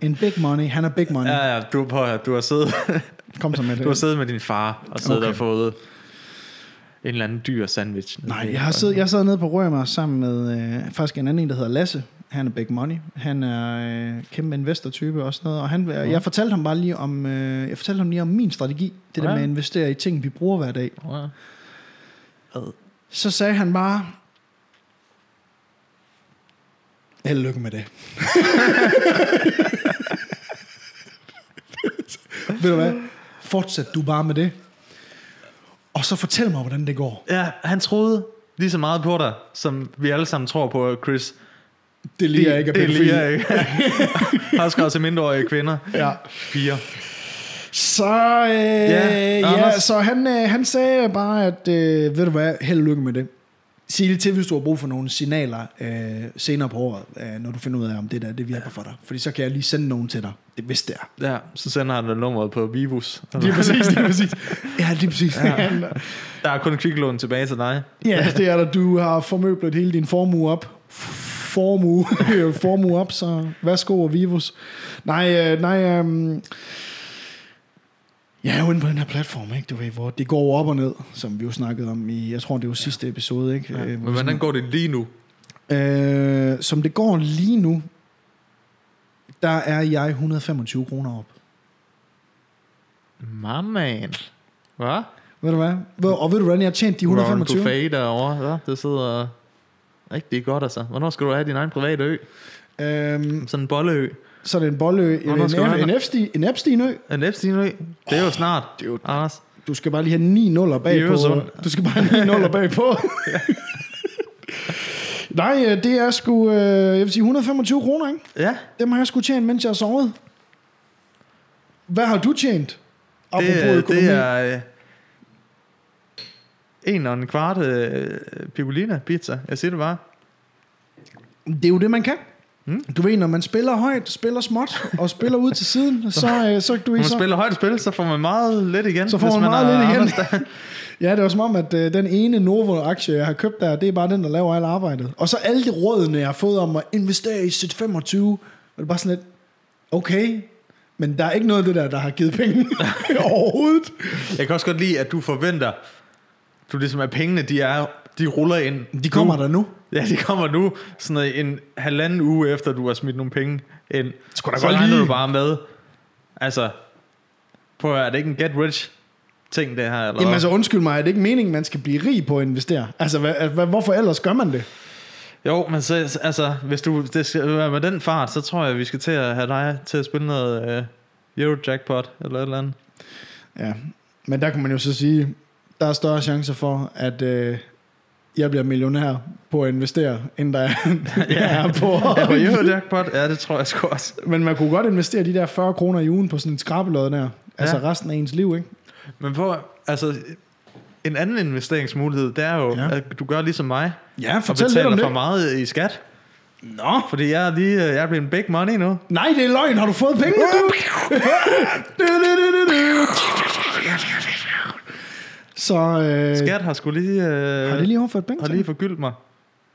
en big money. Han er big money. Ja, ja, du, er på, du, har siddet, Kom så med det. du har siddet med din far og siddet okay. Okay. og fået en eller anden dyr sandwich. Nej, jeg har siddet, jeg sad nede på Rømer sammen med øh, faktisk en anden en, der hedder Lasse. Han er Big Money. Han er øh, kæmpe investor-type og sådan noget. Og Mm. han, jeg fortalte ham bare lige om, øh, jeg fortalte ham lige om min strategi. Det der Ja. med at investere i ting, vi bruger hver dag. Ja. Ad. Så sagde han bare, held og lykke med det. Ved du hvad? Fortsæt du bare med det. Og så fortæl mig, hvordan det går. Ja, han troede lige så meget på dig, som vi alle sammen tror på Chris. Det lige jeg ikke er det pædofil. lige ikke. Har skrevet til mindreårige kvinder. Ja. Piger. Så, øh, ja, ja, Anders. så han, øh, han sagde bare, at øh, ved du hvad, held og lykke med det. Sig det til, hvis du har brug for nogle signaler øh, senere på året, øh, når du finder ud af, om det der det virker for dig. Fordi så kan jeg lige sende nogen til dig, det, hvis det er. Ja, så sender han nummeret på Vivus. Lige præcis, lige præcis. Ja, lige præcis. Ja, Der er kun kviklån tilbage til dig. ja det er der. Du har formøblet hele din formue op. Formue. formue op, så værsgo og vivus. Nej, øh, nej. øhm, jeg er jo inde på den her platform, ikke? Du ved, hvor det går op og ned, som vi jo snakkede om i, jeg tror, det var sidste episode, ikke? Ja. Øh, hvor Men vi hvordan går det lige nu? Øh, som det går lige nu, der er jeg 125 kroner op. Mamman. Hvad? Ved du hvad? Ved- Og ved du, hvordan jeg har tjent de 125? Ron Buffet derovre, ja, det sidder rigtig godt altså. Hvornår skal du have din egen private ø? Øhm, Sådan en bolleø. så er det en bolle, en, der skal du en, have en, Epstein, en Epsteinø. En Epstein-ø. Det er jo snart, det er jo- Anders. Du skal bare lige have 9 nuller I bagpå. Øresund. Du skal bare have 9 nuller bagpå. Nej, øh, det er sgu, øh, jeg vil sige 125 kroner, ikke? Ja, Dem har jeg sgu tjent, mens jeg har sovet. Hvad har du tjent? Apropos det, er- økonomi. det er øh, en og en kvart øh, piccolina pizza. Jeg siger det bare. det er jo det, man kan. Mm. Du ved, når man spiller højt, spiller småt og spiller ud til siden, så, øh, så, du Når ved, man så, spiller højt spil, så får man meget lidt igen. så får hvis man meget har lidt igen. Anders, der- ja, det var som om, at øh, den ene Novo-aktie, jeg har købt der, det er bare den, der laver alt arbejdet. Og så alle de rådene, jeg har fået om at investere i sit 25, og det er bare sådan lidt, okay, men der er ikke noget af det der, der har givet penge overhovedet. Jeg kan også godt lide, at du forventer, du ligesom at pengene, de er, de ruller ind. De kommer nu. der nu. Ja, de kommer nu, sådan en halvanden uge efter, du har smidt nogle penge ind. Skulle da så godt regner lige. du bare med, altså, prøv at høre, er det ikke en get rich ting, det her? Eller Jamen hvad? altså, undskyld mig, er det ikke meningen, man skal blive rig på at investere? Altså, hvad, hvad, hvorfor ellers gør man det? Jo, men så, altså, hvis du det skal være med den fart, så tror jeg, vi skal til at have dig til at spille noget øh, Eurojackpot eller et eller andet. Ja, men der kan man jo så sige, der er større chancer for, at øh, jeg bliver millionær på at investere, end der er, ja. er på. Ja, Eurojackpot, ja, det tror jeg sgu også. men man kunne godt investere de der 40 kroner i ugen på sådan en skrabelod der. Altså Ja. resten af ens liv, ikke? Men på, altså, en anden investeringsmulighed, det er jo, Ja. ja. at du gør ligesom mig, Ja, og betaler for meget i skat. Nå. Fordi jeg er lige, øh, jeg er blevet en big money nu. Nej, det er løgn. Har du fået penge nu? Så øh, Skat har sgu lige, øh, har det lige overført penge har til lige dig? forgyldt mig.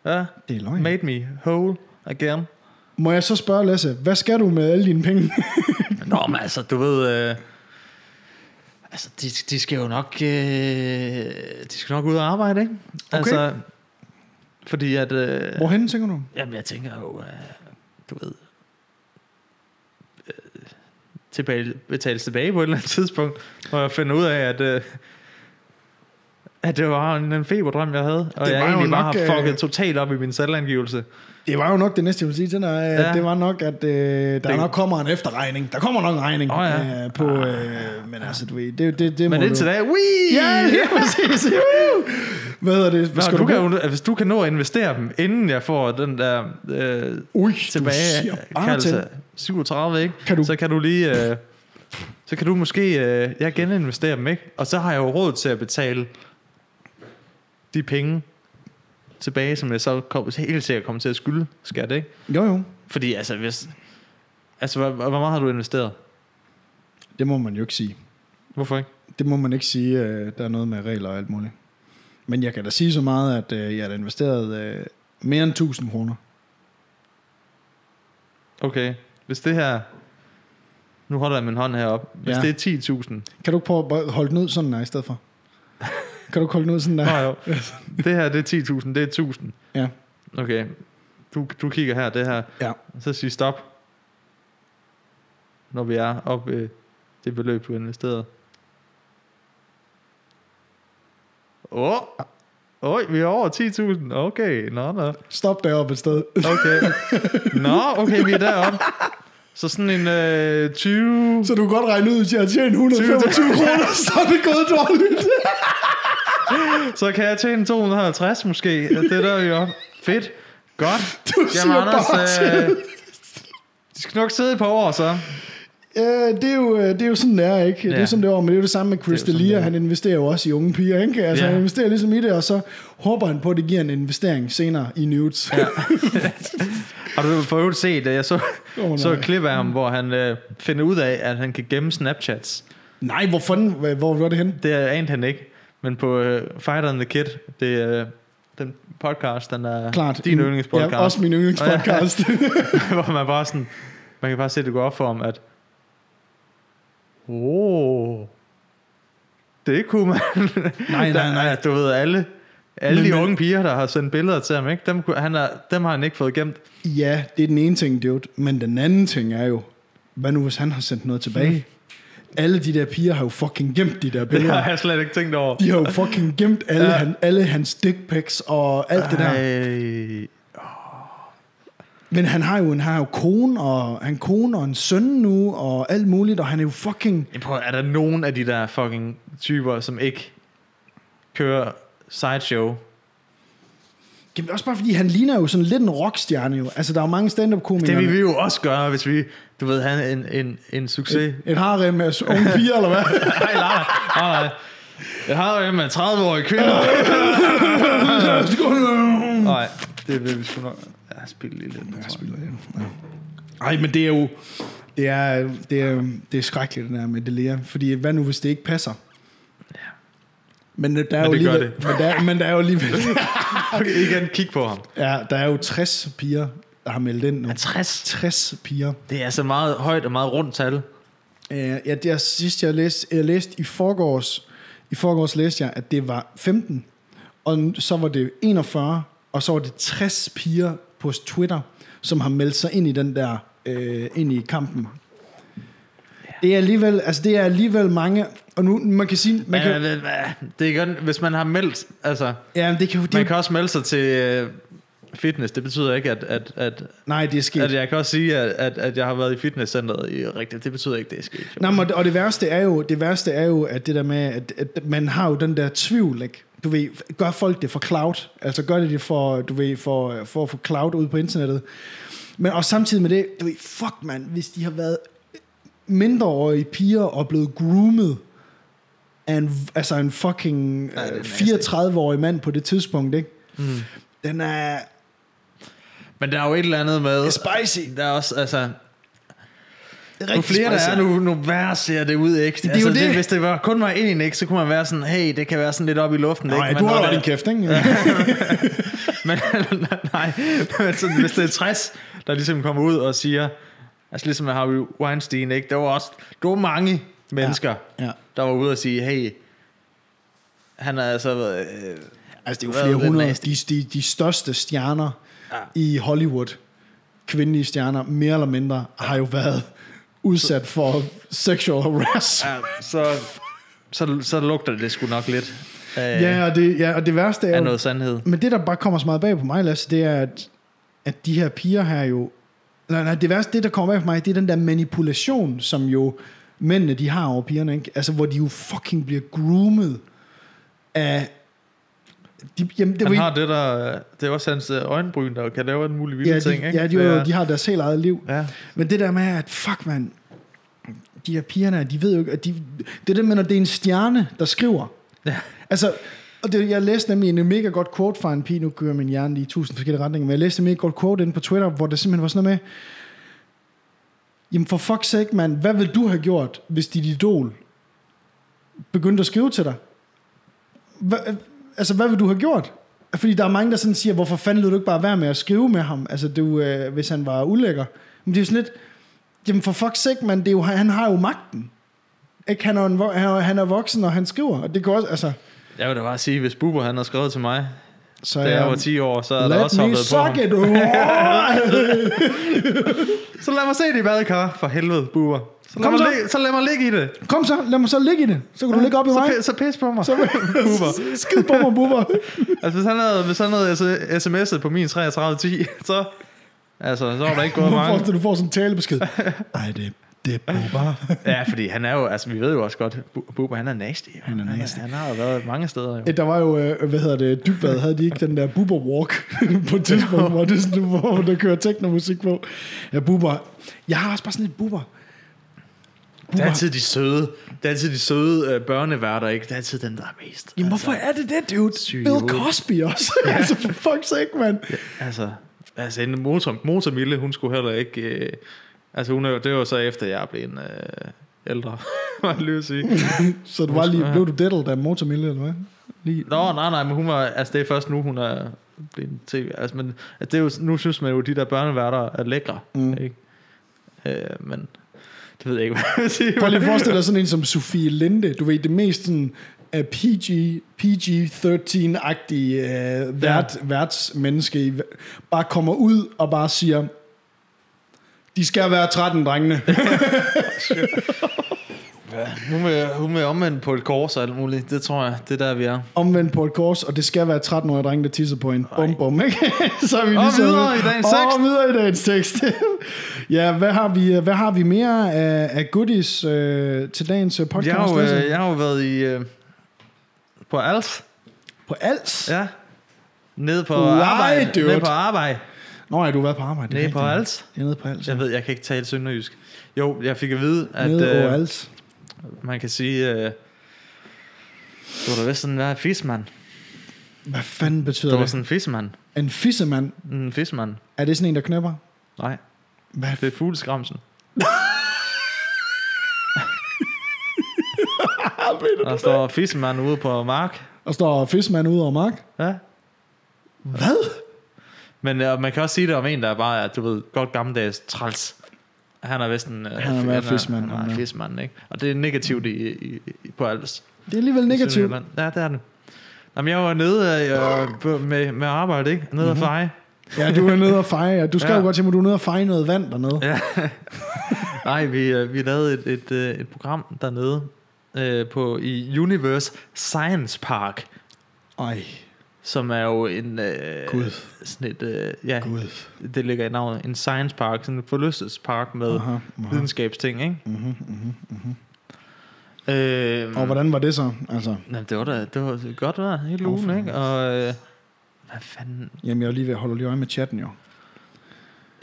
Ja, Det er løgn. made me whole again. Må jeg så spørge, Lasse, hvad skal du med alle dine penge? Nå, men altså, du ved... Øh, altså, de, de skal jo nok... Øh, de skal nok ud og arbejde, ikke? Okay. Altså, fordi at... Øh, Hvorhen tænker du? jamen, jeg tænker jo, øh, du ved... øh, Tilbage, betales tilbage på et eller andet tidspunkt, hvor jeg finder ud af, at, øh, at det var en, en feberdrøm, jeg havde. Og Det jeg var jo egentlig bare nok, har øh, fucket totalt op i min selvangivelse. Det var jo nok det næste, jeg ville sige til dig. Ja. Ja. Det var nok, at øh, der det... Det- nok kommer en efterregning. Der kommer nok en regning Åh, ja. Ah. øh, på... Øh, men altså, du ved, det, det, det Men må indtil du... da, wii! Ja, lige præcis. Woo! Hvad hedder det? Hvad Nå, skal du du, bruge? kan, jo- hvis du kan nå at investere dem, inden jeg får den der øh, Ui, tilbage du siger bare kaldelse til. 37, ikke? Kan du- så kan du lige... Øh, så kan du måske... Øh, jeg geninvestere dem, ikke? Og så har jeg jo råd til at betale de penge tilbage, som jeg så kom, helt sikkert kommer til at skylde skat, ikke? Jo, jo. Fordi altså, hvis... Altså, hvor, hvor meget har du investeret? Det må man jo ikke sige. Hvorfor ikke? Det må man ikke sige. Øh, der er noget med regler og alt muligt. Men jeg kan da sige så meget, at øh, jeg har da investeret øh, mere end 1000 kroner. Okay, hvis det her... Nu holder jeg min hånd herop. Hvis Ja. ja. det er 10.000, Kan du ikke prøve at bare holde den ud sådan der i stedet for? kan du ikke holde den ud sådan Nå, der? jo. Det her, det er 10.000, det er 1.000. Ja. Okay. Du, du kigger her, det her. Ja. Så sig stop. Når vi er op ved det beløb, du har investeret. Åh. Oh. Oj, vi er over 10.000. Okay, nå, nå. Stop deroppe et sted. Okay. Nå, okay, vi er deroppe. Så sådan en øh, 20... Så du kan godt regne ud til at tjene 125 kroner, så er det gået dårligt. Så kan jeg tjene 250 måske. Og Det er der jo fedt. Godt. Du siger bare øh, til. de skal nok sidde et par år så. Ja, det er jo, øh, det er jo sådan, det er, ikke? Ja. Det Ja. er sådan, det var, men det er jo det samme med Chris Det er jo sådan, det D'Elia, er. han investerer jo også i unge piger, ikke? Altså, Ja. han investerer ligesom i det, og så håber han på, at det giver en investering senere i nudes. Ja. Har du for øvrigt set, at jeg så, Åh, nej. oh, så et klip af ham, hvor han øh, finder ud af, at han kan gemme Snapchats. Nej, hvor fanden, hvor, hvor var det henne? Det anede han ikke. Men på øh, Fighter and the Kid, det er øh, den podcast, den er Klart. Mm. din yndlingspodcast. Ja, også min yndlingspodcast. hvor man bare sådan, man kan bare se, det går op for ham, at, oh, det kunne man. Nej, nej, nej. Der er, Du ved, alle, alle Men- de unge piger, der har sendt billeder til ham, ikke? Dem, kunne- han er, dem har han ikke fået gemt. ja, det er den ene ting, dude. Men den anden ting er jo, hvad nu, hvis han har sendt noget tilbage? Hmm. Alle de der piger har jo fucking gemt de der Det billeder. har jeg slet ikke tænkt over. De har jo fucking gemt alle, ja. Ja. han, alle hans dick pics og alt det der. Ej. Men han har jo en, han har jo kone, og han kone og en søn nu, og alt muligt, og han er jo fucking... Jamen, Prøv, er der nogen af de der fucking typer, som ikke kører sideshow? Jamen, også bare fordi, han ligner jo sådan lidt en rockstjerne jo. Altså, der er jo mange stand-up-komikere. Det vil vi jo også gøre, hvis vi, du ved, havde en, en, en succes. Et harem med unge piger, eller hvad? Nej, nej, nej, nej. Jeg har jo med 30-årige kvinder. Nej, det vil vi sgu nok. Jeg spiller lige lidt. Jeg spiller. Nej, men det er jo... Det er, det er, det er skrækkeligt, det der med Delia. Fordi hvad nu, hvis det ikke passer? Men øh, der er, jo det gør alligevel, det. Men, der, men der er jo alligevel... Okay, igen, kig på ham. ja, der er jo 60 piger, der har meldt ind nu. 60. 60 piger. Det er altså meget højt og meget rundt tal. Øh, ja, det er sidst, jeg læste, jeg læste i forgårs, i forgårs læste jeg, at det var 15, og n- så var det 41, og så var det 60 piger på Twitter, som har meldt sig ind i den der, øh, ind i kampen. Det er alligevel, altså det er alligevel mange, og nu, man kan sige, man kan, Men, øh, øh, Det er godt, hvis man har meldt, altså, ja, men det kan, jo- det, man kan også melde sig til øh, fitness. Det betyder ikke, at, at, at, nej, det er sket. at jeg kan også sige, at, at, at jeg har været i fitnesscenteret i rigtigt. Det betyder ikke, det er sket. jo. Nej, men, og det værste er jo, det værste er jo at det der med, at, at man har jo den der tvivl, ikke? Du ved, gør folk det for cloud? Altså gør de det for, du ved, for, for at få cloud ud på internettet? Men og samtidig med det, du ved, fuck man, hvis de har været mindreårige piger og blevet groomet af en, altså en fucking Ja, det er øh, nasty. 34-årig mand på det tidspunkt, ikke? Mm. Den er Men der er jo et eller andet med... spicy. Der er også, altså, rigtig Jo flere der spicy. er, nu, nu værre ser det ud ægte. Det er altså, jo det. Hvis det var, kun var en ægte, så kunne man være sådan, hey, det kan være sådan lidt op i luften. Nej, ikke? du når har jo det- din kæft, ikke? Men, nej, men sådan, hvis det er 60, der ligesom kommer ud og siger, altså ligesom med Harvey Weinstein, ikke? der var også der var mange mennesker, ja. der var ude og sige, hey, han er altså... Øh, Altså, det er Hvad jo flere er det hundrede. næste? De, de, de største stjerner ja. Ja. i Hollywood, kvindelige stjerner, mere eller mindre, har jo været udsat for sexual harassment. er, så, så, så lugter det sgu nok lidt øh, Ja, og det, ja, og det værste er af jo... noget sandhed. Men det, der bare kommer så meget bag på mig, Lasse, det er, at, at de her piger her jo... Nej, nej, det værste, det der kommer bag på mig, det er den der manipulation, som jo mændene, de har over pigerne, ikke? Altså, hvor de jo fucking bliver groomet af... De, jamen, det er jo Han ikke- har det der, det er også hans øh, øjenbryn, der kan lave en mulig vilde ja, de, ting, ikke? Ja, de, Det jo, er- de har deres helt eget liv. Ja. Men det der med, at fuck man, de her pigerne, de ved jo ikke, at de, det der med, når det er en stjerne, der skriver. Ja. Altså, og det, jeg læste nemlig en mega godt quote fra en pige, nu kører min hjerne lige i tusind forskellige retninger, men jeg læste en mega godt quote inde på Twitter, hvor det simpelthen var sådan noget med, jamen for fuck's sake, man, hvad ville du have gjort, hvis dit idol begyndte at skrive til dig? Hva, altså, hvad ville du have gjort? Fordi der er mange, der sådan siger, hvorfor fanden lød du ikke bare være med at skrive med ham, altså du, øh, hvis han var ulækker? Men det er jo sådan lidt, jamen for fuck's sake, man, det er jo, han har jo magten. Ikke? Han, er jo en, vo- han, er, han er voksen, og han skriver, og det går også, altså... Jeg vil da bare sige, hvis Bubber han har skrevet til mig, Så øh, da jeg var 10 år, så er der også Let me hoppet på ham. suck it. Åh! Så lad mig se det i badekar, for helvede, Bubber. Så lad, Kom mig så. ligge, så lad mig ligge i det. Kom så, lad mig så ligge i det. Så kan du ligge op i så, mig. pi- så pis på mig, Så- Bubber. Skid på mig, bubber. Altså, hvis han havde, hvis han havde sms'et på min 3310, så Altså, så var der ikke gået Hvorfor mange. får du får sådan en talebesked? Ej, det, det er bare. Ja, fordi han er jo, altså vi ved jo også godt, Bu- Bubber han er nasty. jo. Han er nasty. Han, han har jo været mange steder jo. Der var jo, øh, hvad hedder det, Dybvad havde de ikke den der Bubber Walk på et tidspunkt, hvor, det, er sådan, hvor der kører teknomusik på. Ja, Bubber. Jeg har også bare sådan et Bubber. Det er altid de søde, det er altid de søde øh, børneværter, ikke? Det er altid den, der er mest. Altså, Jamen, hvorfor er det det, dude? Syge Bill hoved. hvorfor? Cosby også. Ja. altså, for fuck's sake, mand. Altså, altså en motor, motormille, hun skulle heller ikke... Øh, altså, hun, er jo- det var så efter, jeg blev en øh, ældre, var jeg lige at sige. Så du var lige, blev du diddled af Motormille, eller hvad? Lige. Nå, nej, nej, men hun var... Altså, det er først nu, hun er blevet en tv. Altså, men altså, det er jo, nu synes man jo, de der børneværter er lækre, mm. ikke? Øh, men det ved jeg ikke, hvad jeg vil sige. Prøv lige at forestille dig sådan en som Sofie Linde. Du ved, det mest sådan øh, PG, PG-13-agtige øh, vært, værtsmenneske, i ver- bare kommer ud og bare siger, de skal være 13 drengene. Hun vil, hun vil omvende på et kors og alt muligt. Det tror jeg, det er der, vi er. Omvendt på et kors, og det skal være 13-årige drenge, der tisser på en. Bum, bum, ikke? så er vi Og ligesom- videre i dagens tekst. Og videre i dagens tekst. ja, hvad har vi, hvad har vi mere af, af goodies øh, til dagens øh, Jeg podcast? har, jo, Lasse? øh, jeg har jo været i... Øh, på Als. På alt? Ja. Ja. Nede på Why, arbejde. dude? Nede på arbejde. Nå ja, du har været på arbejde. det er Nede på rigtigt. Als. Det er nede på alt. Jeg ved, jeg kan ikke tale sønderjysk. Jo, jeg fik at vide, at Nede på øh, alt. man kan sige... Øh, det var da vist sådan, hvad er fismand? Hvad fanden betyder Det var det? sådan en fismand. En fissemand, En fismand. er det sådan en, der knæpper? Nej, Hvad? det er fugleskramsen. Der står fismand ude på mark. Og står fiskemand ude over mark? Ja. Hvad? Men øh, man kan også sige det om en, der bare er, du ved, godt gammeldags træls. Han er vist en... Øh, Han er mere fiskemand, Han er, ham han der. er fiskemand, ikke? Og det er negativt i, i, i på alles. Det er alligevel negativt. Sønderjylland. Ja, det er det. Jamen, jeg var nede øh, på- med, med arbejde, ikke? Nede Mhm. mm-hmm. og feje. Ja, du er nede og feje. ja. Du skal Ja. ja. jo godt til mig, du er nede og feje noget vand dernede. Ja. Nej, vi, øh, vi lavede et, et, øh, et program dernede øh, på, i Universe Science Park, Ej, som er jo en... Øh, Gud. Sådan et, øh, ja, gud. det ligger i navnet. En science park, sådan en forlystelsespark med Aha, aha. Mhm, videnskabsting, ikke? Mm-hmm, mm-hmm. Øh, Og hvordan var det så? Altså, Jamen, det var da det var godt vejr hele Åh, ugen, for ikke? Og øh, hvad fanden? jamen, jeg er lige ved at holde lige øje med chatten jo.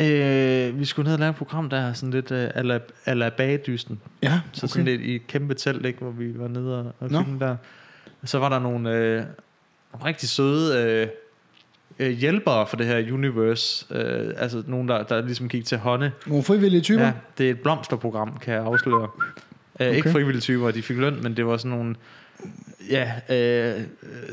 Øh, vi skulle ned og lave et program, der er sådan lidt øh, ala, ala bagdysten. Ja, Så okay. sådan lidt i et kæmpe telt, ikke? Hvor vi var nede og, og Nå. filmede der. Så var der nogle øh, rigtig søde øh, øh, hjælpere for det her universe. Øh, altså nogen, der, der ligesom gik til hånde. Nogle frivillige typer? Ja, det er et blomsterprogram, kan jeg afsløre. Okay. Ikke frivillige typer, de fik løn, men det var sådan nogle... Ja, øh,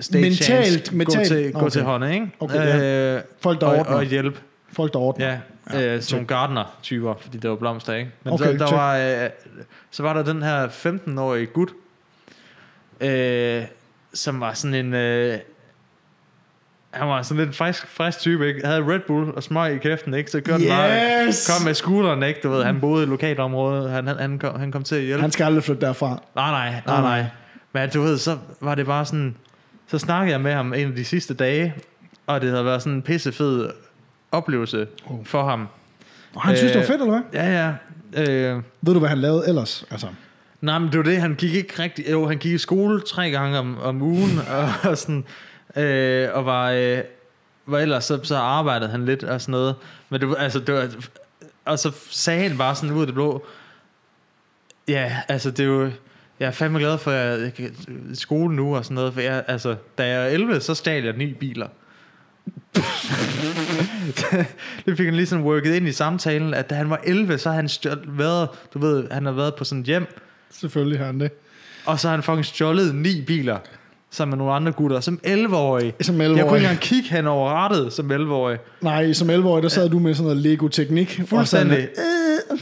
stage Mentalt- hands. Gå mentalt- til, gå okay. til hånden, ikke? Okay, ja. øh, Folk, der og, ordner. og hjælpe. Folk, der ordner. Ja, ja øh, sådan nogle gardner-typer, fordi det var blomster, ikke? Men Okay, okay, der, check. der var, øh, så var der den her 15-årige gut, øh, som var sådan en... Øh, han var sådan lidt en frisk, frisk type, ikke? Havde Red Bull og smøg i kæften, ikke? Så kørte yes! bare, Yes! kom med scooteren, ikke? Du ved, han boede i lokalområdet, han, han, han, kom, han kom til at hjælpe. Han skal aldrig flytte derfra. Nej, nej, nej, nej. Men du ved, så var det bare sådan... Så snakkede jeg med ham en af de sidste dage, og det havde været sådan en pissefed oplevelse Oh. for ham. Og han øh, synes, det var Øh, fedt, eller hvad? Ja, ja. Øh, Ved du, hvad han lavede ellers? Altså, nej, men det var det, han gik ikke rigtig... Jo, han gik i skole tre gange om, om ugen, og, og sådan... Øh, og var... Øh, var ellers så, så arbejdede han lidt og sådan noget. Men det, var- altså, det var, og så sagde han bare sådan ud af det blå, ja, altså det er jo, jeg er fandme glad for, at jeg kan i skole nu og sådan noget, for jeg, altså, da jeg er 11, så stjal jeg ni biler. det fik han ligesom worket ind i samtalen, at da han var 11, så har han stjål- været, du ved, han har været på sådan et hjem, selvfølgelig har han det. og så har han fucking stjålet ni biler sammen med nogle andre gutter, som 11-årige. Som Jeg kunne 11-årig. ikke engang kigge hen over rattet som 11-årig. Nej, som 11-årig, der sad du med sådan noget Lego-teknik. Fuldstændig. Og sådan,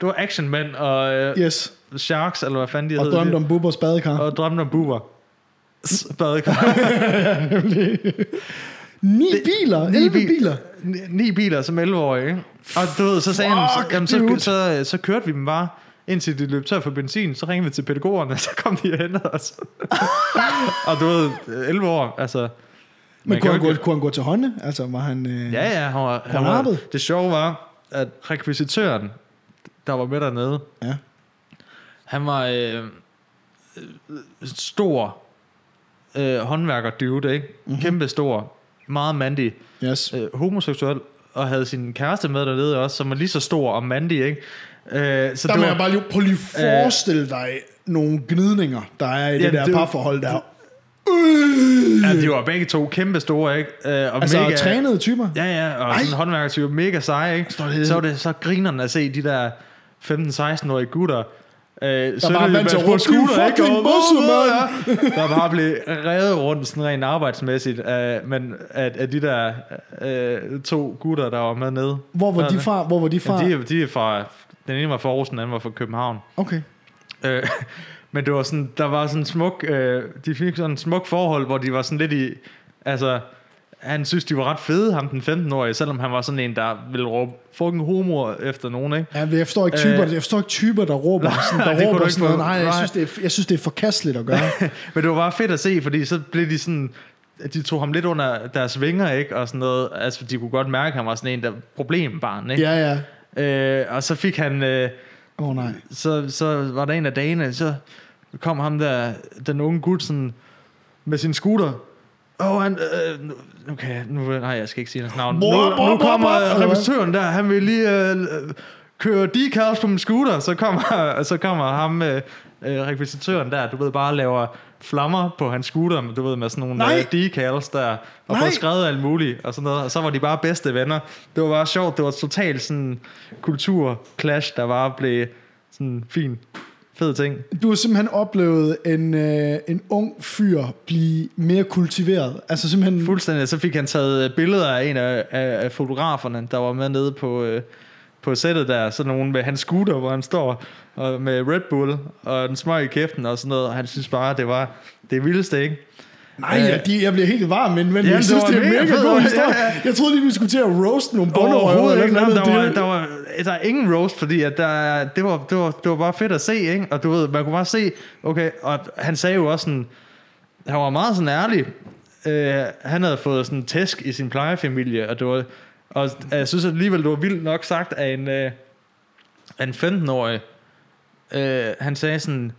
Du øh. var actionmand og øh, øh, yes. Sharks, eller hvad fanden de Og hedder. drømte om Bubbers badekar. Og drømte om buber. Badekar. Ni biler, ni 11 bil- biler. Ni- Ni biler som 11-årige, ikke? Og du ved, så sagde han, så, Fuck, jamen, så, dude. så, øh, så, kørte vi dem bare, indtil de løb tør for benzin, så ringede vi til pædagogerne, så kom de og hentede os. og du ved, 11 år, altså... Men kan kunne jo han, gå, ikke- kunne han gå til hånden? Altså, var han... Øh... Ja, ja, han var, han han var, arbejde? det sjove var, at rekvisitøren, der var med dernede, ja. han var øh, øh, stor øh, håndværker-dude, ikke? Mhm. Mm-hmm. Kæmpe stor, meget mandig, Yes. øh, homoseksuel, og havde sin kæreste med dernede også, som var lige så stor og mandig, ikke? Øh, så Der det må var, jeg bare lige, prøv lige forestille dig nogle gnidninger, der er i det Jamen, der det- parforhold der. Øh! ja, de var begge to kæmpe store, ikke? Øh, og Altså, mega, trænede typer. Ja. Ja, ja, og Ej. sådan håndværkertype, mega seje, ikke? Står det- Så var det så grinerne at se de der 15-16-årige gutter, øh, der bare vant til at råbe, "Din fucking bosse, mand! Der bare blev revet rundt sådan rent arbejdsmæssigt, øh, men at, at de der øh, to gutter, der var med nede. Hvor var de Sådan. fra? Hvor var de fra? Ja, de, er- de er fra, den ene var fra Aarhus, den anden var fra København. Okay. Øh, men det var sådan, der var sådan en smuk, øh, de fik sådan en smuk forhold, hvor de var sådan lidt i, altså, han synes, de var ret fede, ham den 15-årige, selvom han var sådan en, der ville råbe fucking homo efter nogen, ikke? Ja, men jeg forstår ikke typer, Øh. jeg forstår ikke typer der råber sådan, det der kunne du råber ikke sådan noget. få- Nej, jeg nej. synes, det er, jeg synes, det er forkasteligt at gøre. men det var bare fedt at se, fordi så blev de sådan, at de tog ham lidt under deres vinger, ikke? Og sådan noget, altså, de kunne godt mærke, at han var sådan en, der problembarn, ikke? ja, ja. Øh, og så fik han, øh, Åh oh, nej. så, så var der en af dagene, så kom ham der, den unge gut, sådan, med sin scooter. Åh, oh, han, øh, nu- nu kan jeg, nu, nej, jeg skal ikke sige hans navn. Nu, Bror, bror, nu bror, kommer bror, eller hvad? repræsentatøren der, han vil lige øh, øh, køre decals på min scooter, så kommer, så kommer ham, øh, øh, repræsentatøren der, du ved, bare laver flammer på hans scooter, du ved, med sådan nogle Nej. øh, decals der, og Nej. får skrevet alt muligt, og sådan noget, og så var de bare bedste venner. Det var bare sjovt, det var totalt sådan kultur-clash, der bare blev sådan fin, fed ting. Du har simpelthen oplevet en, øh, en ung fyr blive mere kultiveret. Altså simpelthen... Fuldstændig. Så fik han taget øh, billeder af en af, af, af fotograferne, der var med nede på, øh, på sættet der. Sådan nogen med hans scooter, hvor han står og med Red Bull og den smøg i kæften og sådan noget. Og han synes bare, det var det vildeste, ikke? Nej, ja, de, jeg bliver helt varm indvendig. Ja, Ja, jeg det synes, var det er en mega mega fed, god ja, historie. ja. Jeg troede lige, vi skulle til at roast nogle bonderøver. Overhovedet ikke. eller Der, noget. der, var, Det- der, var, der er ingen roast, fordi at der, det, var, det, var, det var bare fedt at se, ikke? Og du ved, man kunne bare se, okay, og han sagde jo også sådan, han var meget sådan ærlig. Øh, han havde fået sådan en tæsk i sin plejefamilie, og det var, og jeg synes alligevel, det var vildt nok sagt af en, øh, af en 15-årig. Øh, han sagde sådan,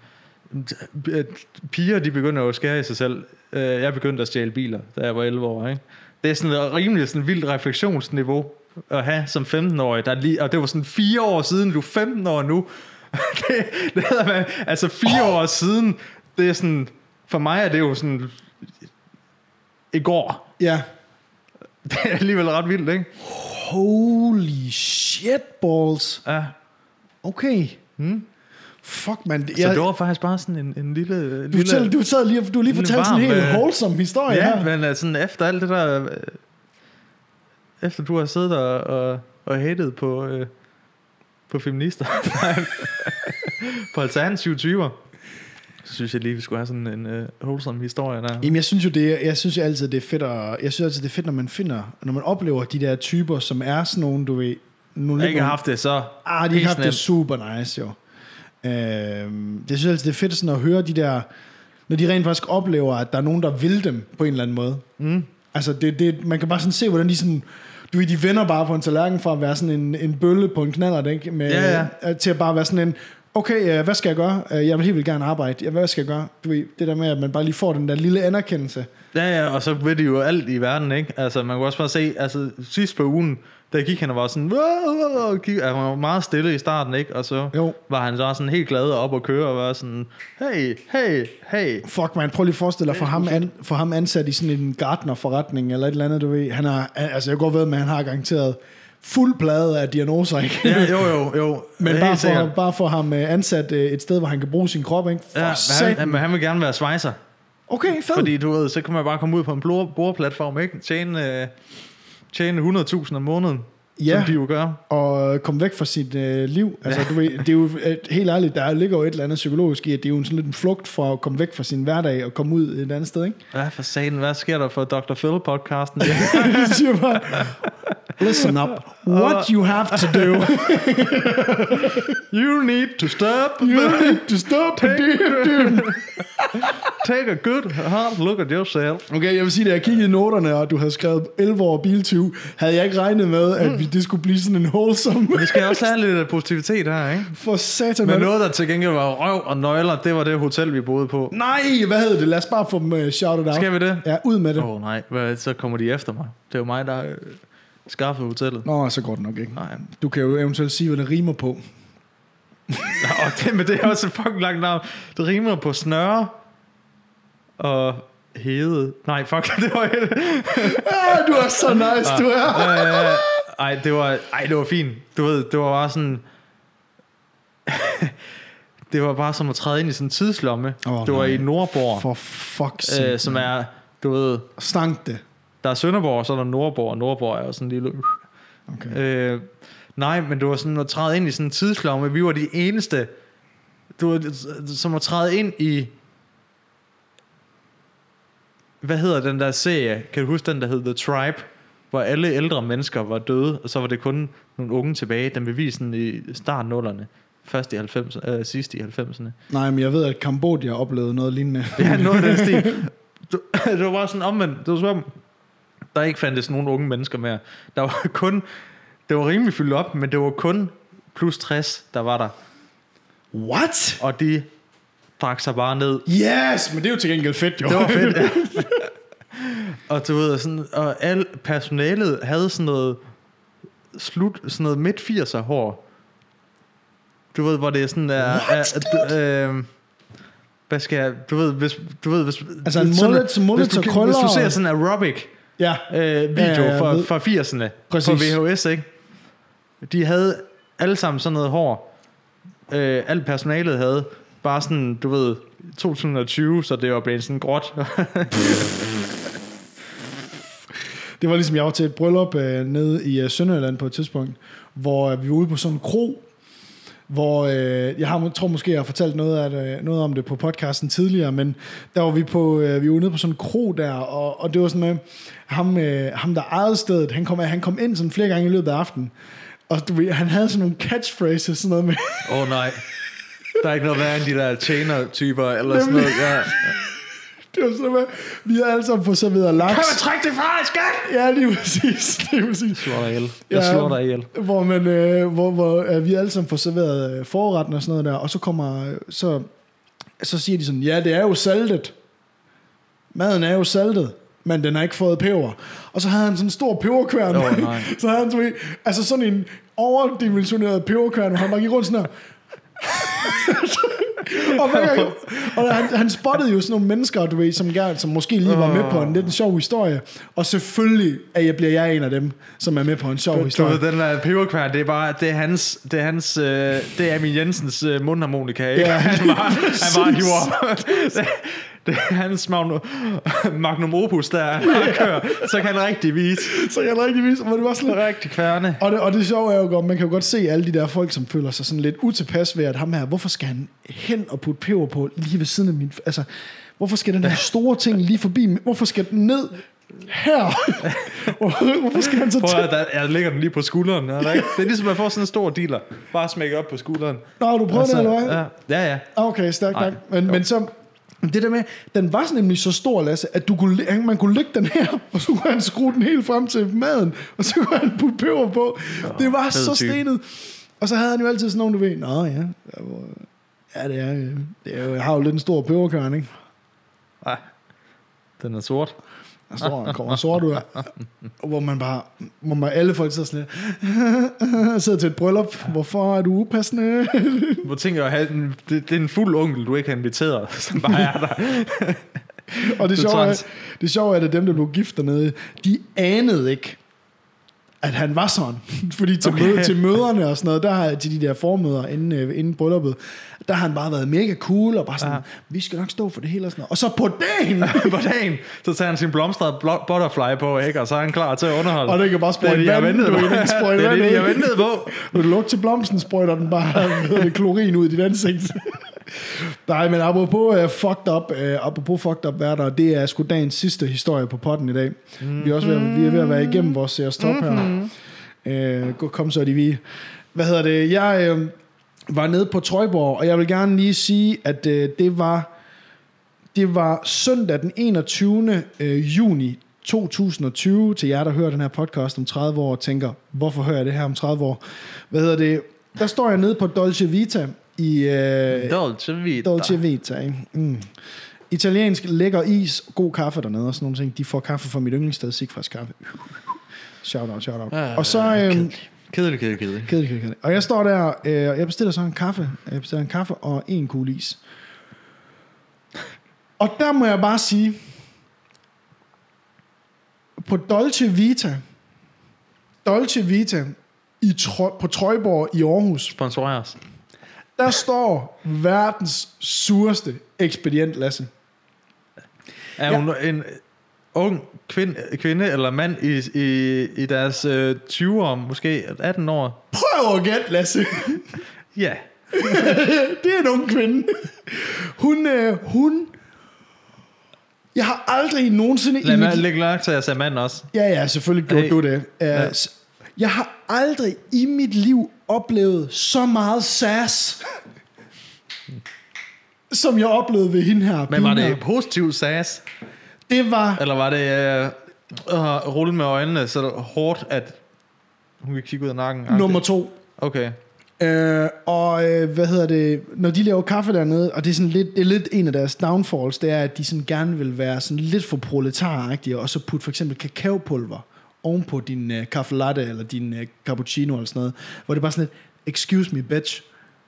at piger, de begynder jo at skære i sig selv. Øh, jeg begyndte at stjæle biler, da jeg var 11 år, ikke? Det er sådan et rimelig sådan vildt refleksionsniveau at have som 15-årig, der lige, og det var sådan fire år siden, du er 15 år nu. det, det hedder, man, altså fire oh. år siden, det er sådan, for mig er det jo sådan, i går. Ja. Det er alligevel ret vildt, ikke? Holy shit balls. Ja. Okay. Hmm. Fuck, man. Det, Så jeg, det var faktisk bare sådan en, en lille... lille du, fortæller, du, sad lige, du har lige lille fortalt sådan en varm, helt øh, wholesome historie Ja, her. men øh, sådan efter alt det der... øh, Efter du har siddet og, og, og hatet på, øh, på feminister, nej, på alternative typer, så synes jeg lige, vi skulle have sådan en øh, wholesome historie der. Jamen, jeg synes jo det, jeg synes jo altid det er fedt at, jeg synes altid det er fedt når man finder, når man oplever de der typer som er sådan nogle, du ved, nogle Jeg lidt ikke har haft det så... Ah, de helt har haft det slemt. super nice, jo. Øhm, jeg synes altid, det er fedt sådan at høre de der, når de rent faktisk oplever, at der er nogen, der vil dem på en eller anden måde. Mm. Altså, det, det, man kan bare sådan se, hvordan de sådan, du ved, de vender bare på en tallerken fra at være sådan en, en bølle på en knaller, ikke? Med, Ja, øh, Til at bare være sådan en, okay, øh, hvad skal jeg gøre? Øh, Jeg vil helt vildt gerne arbejde. Ja, hvad skal jeg gøre? Du ved, det der med, at man bare lige får den der lille anerkendelse. Ja, ja, og så ved de jo alt i verden, ikke? Altså, man kan også bare se, altså sidst på ugen, der gik han og var sådan, "Wow, wow", og gik, altså, han var meget stille i starten, ikke? Og så Jo. var han så sådan helt glad og op og køre og var sådan, hey, hey, hey. Fuck man, prøv lige at forestille dig for ham, an, for ham ansat i sådan en gartnerforretning eller et eller andet, du ved. Han har, altså jeg går ved med, at han har garanteret fuld plade af diagnoser, ikke? Ja, jo, jo, jo. Men Helt bare sikkert. for, bare for ham øh, ansat øh, et sted, hvor han kan bruge sin krop, ikke? For Ja, men han, satan. men han vil gerne være svejser. Okay, fed. Fordi du ved, så kan man bare komme ud på en blå- boreplatform, ikke? Tjene, øh, tjene 100.000 om måneden, Ja. som de jo gør. Og komme væk fra sit øh, liv. Altså, du ved, det er jo øh, helt ærligt, der ligger jo et eller andet psykologisk i, at det er jo en sådan lidt en flugt for at komme væk fra sin hverdag og komme ud et andet sted, ikke? Hvad for satan, hvad sker der for Dr. Phil-podcasten? Det siger bare, listen up, what you have to do, you need to stop. you need to stop, Take- det, det, Take a good hard look at yourself. Okay, jeg vil sige, da jeg kiggede i noterne, og du havde skrevet 11 år biltyv, havde jeg ikke regnet med, at vi, det skulle blive sådan en wholesome... Vi skal også have lidt af positivitet her, ikke? For satan. Men hvad- noget, der til gengæld var røv og nøgler, det var det hotel, vi boede på. Nej, hvad hedder det? Lad os bare få dem uh, shouted out. Skal vi det? Ja, ud med det. Åh oh, nej, Hvad, så kommer de efter mig. Det er jo mig, der øh, skaffede hotellet. Nå, så går det nok ikke. Nej, Du kan jo eventuelt sige, hvad det rimer på. og det, men det er også et fucking langt navn. Det rimer på snøre og hede. Nej, fuck, det var helt... Ah, du er så nice, du er. Øh, ej, det var, ej, det var fint. Du ved, det var bare sådan... det var bare som at træde ind i sådan en tidslomme. Åh, Oh, det var nej. i Nordborg, For fuck's øh, sake. som er, du ved, Stank det. der er Sønderborg, og så er der Nordborg, og Nordborg er jo sådan en lille... Okay. Øh, nej, men det var sådan at træde ind i sådan en tidslomme. Vi var de eneste, du var, som at træde ind i... Hvad hedder den der serie? Kan du huske den, der hed The Tribe? Hvor alle ældre mennesker var døde, og så var det kun nogle unge tilbage. Den blev vist sådan i starten af nullerne. Først i 90'erne, øh, sidst i 90'erne. Nej, men jeg ved, at Kambodja oplevede noget lignende. Ja, noget af den stil. Du, det var bare sådan omvendt. Det var som om, der ikke fandtes nogen unge mennesker mere. Der var kun, det var rimelig fyldt op, men det var kun plus 60, der var der. What? Og de drak sig bare ned. Yes, men det er jo til gengæld fedt, jo. Det var fedt, ja. Og du ved, sådan, og al personalet havde sådan noget, slut, sådan noget midt 80'er hår. Du ved, hvor det er sådan der... What, er, er, øh, hvad skal jeg, du ved, hvis, du ved, hvis, Altså en sådan- mullet- mullet hvis, du, og kan- krøller hvis du ser og- sådan en aerobic, ja. øh, Ja, video ja, jeg fra, ved. fra 80'erne på Præcis. VHS, ikke? De havde alle sammen sådan noget hår. Øh, alt personalet havde bare sådan, du ved, 2020, så det var blevet sådan gråt. Det var ligesom, jeg var til et bryllup øh, nede i øh, Sønderjylland på et tidspunkt, hvor øh, vi var ude på sådan en kro, hvor øh, jeg har, må- tror måske, jeg har fortalt noget, at, øh, noget om det på podcasten tidligere, men der var vi på, øh, vi var nede på sådan en kro der, og, og det var sådan med, ham, øh, ham der ejede stedet, han kom, han kom ind sådan flere gange i løbet af aftenen, og du ved, han havde sådan nogle catchphrases, sådan noget med, Åh oh, nej. Der er ikke noget værre end de der tjener-typer eller sådan noget. Ja. det var sådan noget med, vi havde alle sammen fået serveret laks. Kan man trække det fra, skat? Ja, lige præcis, lige præcis. Jeg slår dig ihjel. Jeg slår dig ihjel. Hvor, man, øh, hvor, hvor øh, vi alle sammen får serveret øh, forretten og sådan noget der, og så kommer, øh, så, så siger de sådan, ja, det er jo saltet. Maden er jo saltet, men den har ikke fået peber. Og så havde han sådan en stor peberkværn. Åh, nej. så havde han sådan, en- altså sådan en overdimensioneret peberkværn, hvor han bare gik rundt sådan her. og, hver gang, og han, han spottede jo sådan nogle mennesker, du ved, som, gerne, som måske lige var med på en lidt en sjov historie. Og selvfølgelig at jeg bliver jeg en af dem, som er med på en sjov Du historie. ved, den der peberkværn, det er bare, det er hans, det er hans, øh, det er Emil Jensens øh, mundharmonika, ikke? Ja, han var, han var præcis. hiver. det, det er hans magnum, magnum opus, der han bare kører. Så kan han rigtig vise. Så jeg er rigtig vis, hvor det var sådan lidt- Rigtig kværne. og det, og det sjove er jo godt, man kan jo godt se alle de der folk, som føler sig sådan lidt utilpas ved, at ham her, hvorfor skal han hen og putte peber på lige ved siden af min... Altså, hvorfor skal den her store ting lige forbi? min- Hvorfor skal den ned her? Hvor- hvorfor skal han så Prøv at, tæt? der, jeg lægger den lige på skulderen. Er der ikke? Det er ligesom, at man får sådan en stor dealer. Bare smækker op på skulderen. Nå, du prøver Og så- det, eller hvad? ja, ja, ja. Ah, Okay, stærkt Nej. nok. Men, men så, det der med, den var sådan nemlig så stor, Lasse, at du kunne, læ- man kunne lægge den her, og så kunne han skrue den helt frem til maden, og så kunne han putte peber på. det var fed så type. stenet. Og så havde han jo altid sådan nogen, du ved, nå ja, ja det er, øh, det er jo, jeg har jo lidt en stor peberkørn, ikke? Ej, den er sort. Der står, der kommer sort ud af, hvor man bare, hvor man alle folk sidder sådan lidt, sidder til et bryllup, hvorfor er du upassende? Hvor tænker jeg, at have en- det, det er en fuld onkel, du ikke har inviteret, som bare er der. Og det Det er sjove, er, træls. det sjove er, at dem, der blev gift dernede, de anede ikke, at han var sådan. Fordi til, okay. Okay. møde, til møderne og sådan noget, der, har- til de der formøder inden, øh, inden brylluppet, der har han bare været mega cool og bare sådan, Ja. vi skal nok stå for det hele og sådan noget. Og så på dagen, på dagen, så tager han sin blomstrede blo- butterfly på, ikke? og så er han klar til at underholde. og det kan bare det er sprøjte det, jeg vand, ventede du på. ved, den sprøjter det er vand det, ud. jeg ventede på. Vil du lugte til blomsten, sprøjter den bare hvad hedder det, klorin ud i dit ansigt. Nej, men apropos uh, fucked up, uh, apropos fucked up værter, det er sgu dagens sidste historie på potten i dag. Vi er også ved, at- vi er ved at være igennem vores øh, seers top her. Uh, kom så, de vi. Hvad hedder det? Jeg øh, var nede på Trøjborg, og jeg vil gerne lige sige, at øh, det var Det var søndag den 21. øh, juni 2020, til jer, der hører den her podcast om 30 år, og tænker, hvorfor hører jeg det her om 30 år? Hvad hedder det? Der står jeg nede på Dolce Vita i... Øh, Dolce Vita. Dolce Vita, ikke? Mm. Italiensk, lækker is, god kaffe dernede og sådan nogle ting. De får kaffe fra mit yndlingssted, Sigfrids Kaffe. Shout out, shout out. Ah, og så... Øh, Kedelig, kedelig, kedelig. Kedelig, kedelig, kedelig. Og jeg står der, øh, og jeg bestiller så en kaffe. Jeg bestiller en kaffe og en kugle is. Og der må jeg bare sige, på Dolce Vita, Dolce Vita i Trø- på Trøjborg i Aarhus, Sponsorer os. der står verdens sureste ekspedient, Lasse. Er Ja. ja. hun en ung kvinde, kvinde eller mand i, i, i deres øh, 20'er, måske 18 år? Prøv at gætte, Lasse. Ja. det er en ung kvinde. Hun, øh, hun... Jeg har aldrig nogensinde... i Lad mit mig lægge mærke til, at jeg sagde mand også. Ja, ja, selvfølgelig gjorde Hey. du det. Uh, Jeg har aldrig i mit liv oplevet så meget sass, som jeg oplevede ved hende her. Men var pigen det her. positivt sas? Det var... Eller var det øh, at rulle med øjnene så hårdt, at hun kan kigge ud af nakken? Nummer to. Okay. Øh, og øh, hvad hedder det, når de laver kaffe dernede, og det er, sådan lidt, det er lidt en af deres downfalls, det er, at de sådan gerne vil være sådan lidt for proletaragtige, og så putte for eksempel kakaopulver ovenpå din øh, kaffe latte, eller din øh, cappuccino eller sådan noget, hvor det er bare sådan lidt, excuse me bitch,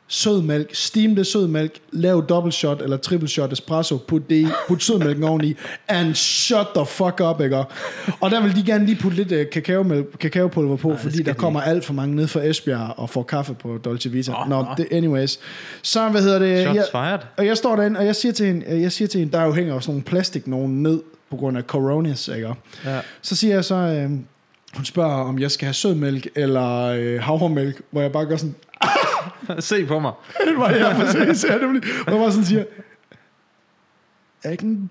sød mælk, steam det sød mælk, lav double shot eller triple shot espresso, put, det i, put sødmælken oveni, and shut the fuck up, ikke? Og der vil de gerne lige putte lidt øh, kakaomælk, kakaopulver på, Ej, fordi skal der de kommer alt for mange ned fra Esbjerg og får kaffe på Dolce Vita. Nå, Nå, nå. det, anyways. Så, hvad hedder det? Shots jeg, fired. og jeg står derinde, og jeg siger til hende, øh, jeg siger til hende der er jo hænger jo sådan nogle plastik nogen ned på grund af coronas, ikke? Ja. Så siger jeg så, øh, hun spørger, om jeg skal have sødmælk eller øh, havremælk, hvor jeg bare gør sådan, Se på mig. det var jeg præcis, ja, nemlig. Hvor jeg bare sådan siger, jeg er ikke en...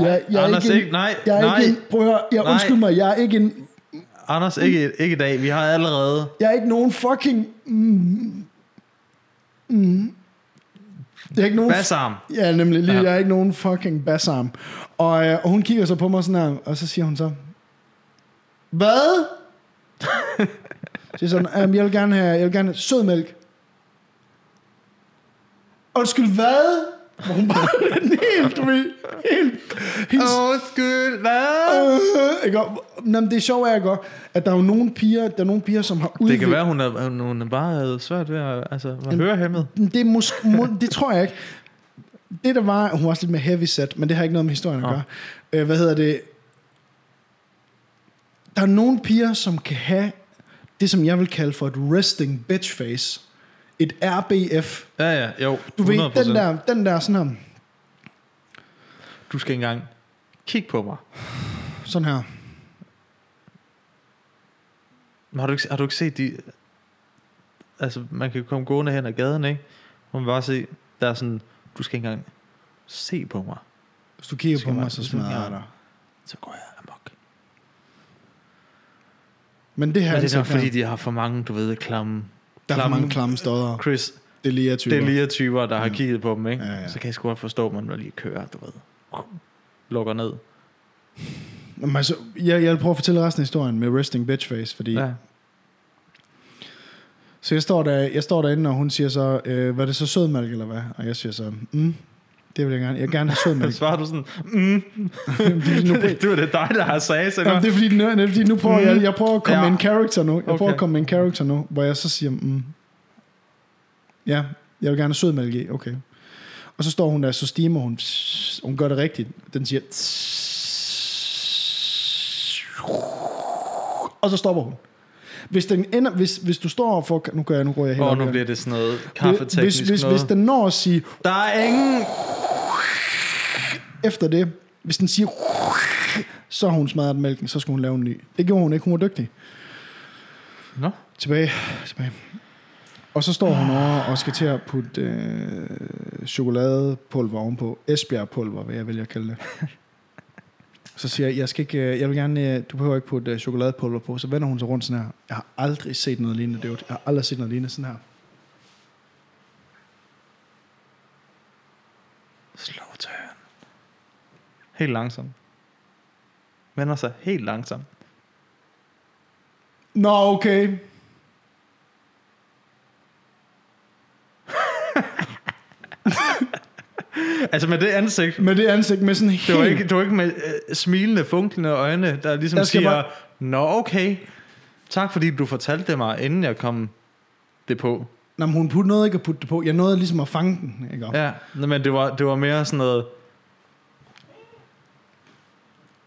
Jeg, jeg er Anders, ikke, en, ikke- nej, jeg er Ikke nej. en, prøv at høre, jeg, Nej. undskyld mig, jeg er ikke en, Anders, ikke, ikke i dag. Vi har allerede... jeg er ikke nogen fucking, mm, mm, jeg er ikke nogen, Bassarm. ja nemlig, lige, Ja. jeg er ikke nogen fucking bassarm. Og, øh, og hun kigger så på mig sådan her, og så siger hun så, hvad? Så siger sådan, "Jamen, jeg vil gerne have, jeg vil gerne have sødmælk. Undskyld, hvad? Hvor hun bare den helt, du ved, helt, helt Undskyld, hvad? øh, ikke? Og- Nå, men det sjove er, ikke, at der er jo nogle piger, der er nogle piger, som har Det udviklet... kan være, hun er, hun- hun er bare havde svært ved at altså, var hørehæmmet. Det, er måske, må, det tror jeg ikke. Det der var, hun var også lidt mere heavy set, men det har ikke noget med historien at Nå. gøre. Øh, hvad hedder det? Der er nogle piger, som kan have det, som jeg vil kalde for et resting bitch face. Et RBF. Ja, ja, jo. Du 100%. ved, den der, den der sådan her, Du skal ikke engang kigge på mig. sådan her. Men har du ikke, har du ikke set de... Altså, man kan komme gående hen ad gaden, ikke? Hun vil bare se, der er sådan... Du skal ikke engang se på mig. Hvis du kigger Skal på man- mig, så smadrer jeg dig. Så går jeg amok. Men det her Men det er nok, ansigt her, fordi de har for mange, du ved, klamme... der er for mange klamme stodder. Chris, Det er lige jeg typer. Mm. det er lige typer, der har kigget på dem, ikke? Ja, ja. Så kan jeg sgu godt forstå, at man når lige kører, du ved. Lukker ned. Jamen, altså, jeg, jeg vil prøve at fortælle resten af historien med resting bitch face, fordi... Ja. Så jeg står, der, jeg står derinde, og hun siger så, øh, var det så sødmælk eller hvad? Og jeg siger så, mm, det vil jeg gerne. Jeg vil gerne have sødmælk. Svarer du sådan, mm, Fordi nu, det var det dig, der har sagt, så Jamen, det er fordi, nu, det er fordi, nu prøver Mm. jeg, jeg prøver at komme Ja. med en character nu. Jeg okay. prøver Okay. at komme med en character nu, hvor jeg så siger, mm, ja, jeg vil gerne have sødmælk i, okay. Og så står hun der, så stimer hun, hun gør det rigtigt. Den siger, og så stopper hun. Hvis, den ender, hvis, hvis du står og får... Nu gør jeg, nu går jeg helt Og op nu her. bliver det sådan noget hvis, kaffeteknisk hvis, noget. hvis den når at sige Der er ingen... efter det, hvis den siger, så har hun smadret mælken, så skal hun lave en ny. Det gjorde hun ikke, hun var dygtig. Nå, Tilbage, tilbage. Og så står hun over og skal til at putte øh, chokoladepulver ovenpå. Esbjergpulver, hvad jeg vælger at kalde det. Så siger jeg, jeg, skal ikke, øh, jeg vil gerne, øh, du behøver ikke putte øh, chokoladepulver på. Så vender hun sig rundt sådan her. Jeg har aldrig set noget lignende, dude. Jeg har aldrig set noget lignende sådan her. Helt langsomt. Vender sig helt langsomt. Nå, okay. Altså med det ansigt. Med det ansigt med sådan helt... Det var ikke, det var ikke med øh, smilende, funklende øjne, der ligesom Der der skal siger, bare- bare... Nå okay, tak fordi du fortalte det mig, inden jeg kom det på. Nå, men hun putte noget ikke at putte det på. Jeg nåede ligesom at fange den, ikke? Ja. Ja, nå, men det var, det var mere sådan noget...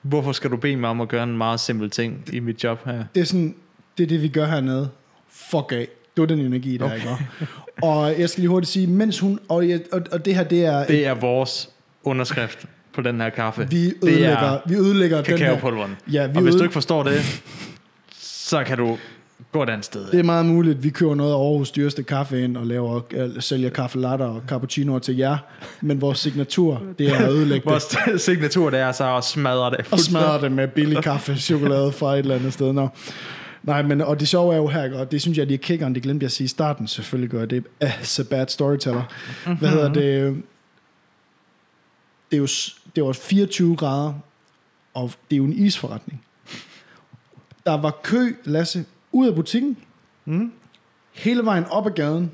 Hvorfor skal du bede mig om at gøre en meget simpel ting i mit job her? Det er sådan, det er det, vi gør hernede. Fuck af. Det var den energi, der okay. ikke? Og jeg skal lige hurtigt sige, mens hun... Og, jeg, og, og det her, det er... Det, Det er vores underskrift på den her kaffe. vi det ødelægger, er vi ødelægger den her... kakaopulveren. Ja, vi Og hvis øde- du ikke forstår det, så kan du gå et andet sted. Det er meget muligt, vi kører noget af Aarhus dyreste kaffe ind og laver, øh, sælger kaffe latte og cappuccinoer til jer. Men vores signatur, det er at ødelægge det. Vores signatur, det er så at smadre det. Og smadre det med billig kaffe, chokolade fra et eller andet sted. Nå. Nej, men og det sjove er jo her, ikke? og det synes jeg lige er kickeren, det glemte jeg at sige i starten, selvfølgelig gør jeg det. As a bad storyteller. Hvad hedder det? Det er jo, s- det var 24 grader, og det er jo en isforretning. Der var kø, Lasse, ud af butikken, mm. hele vejen op ad gaden,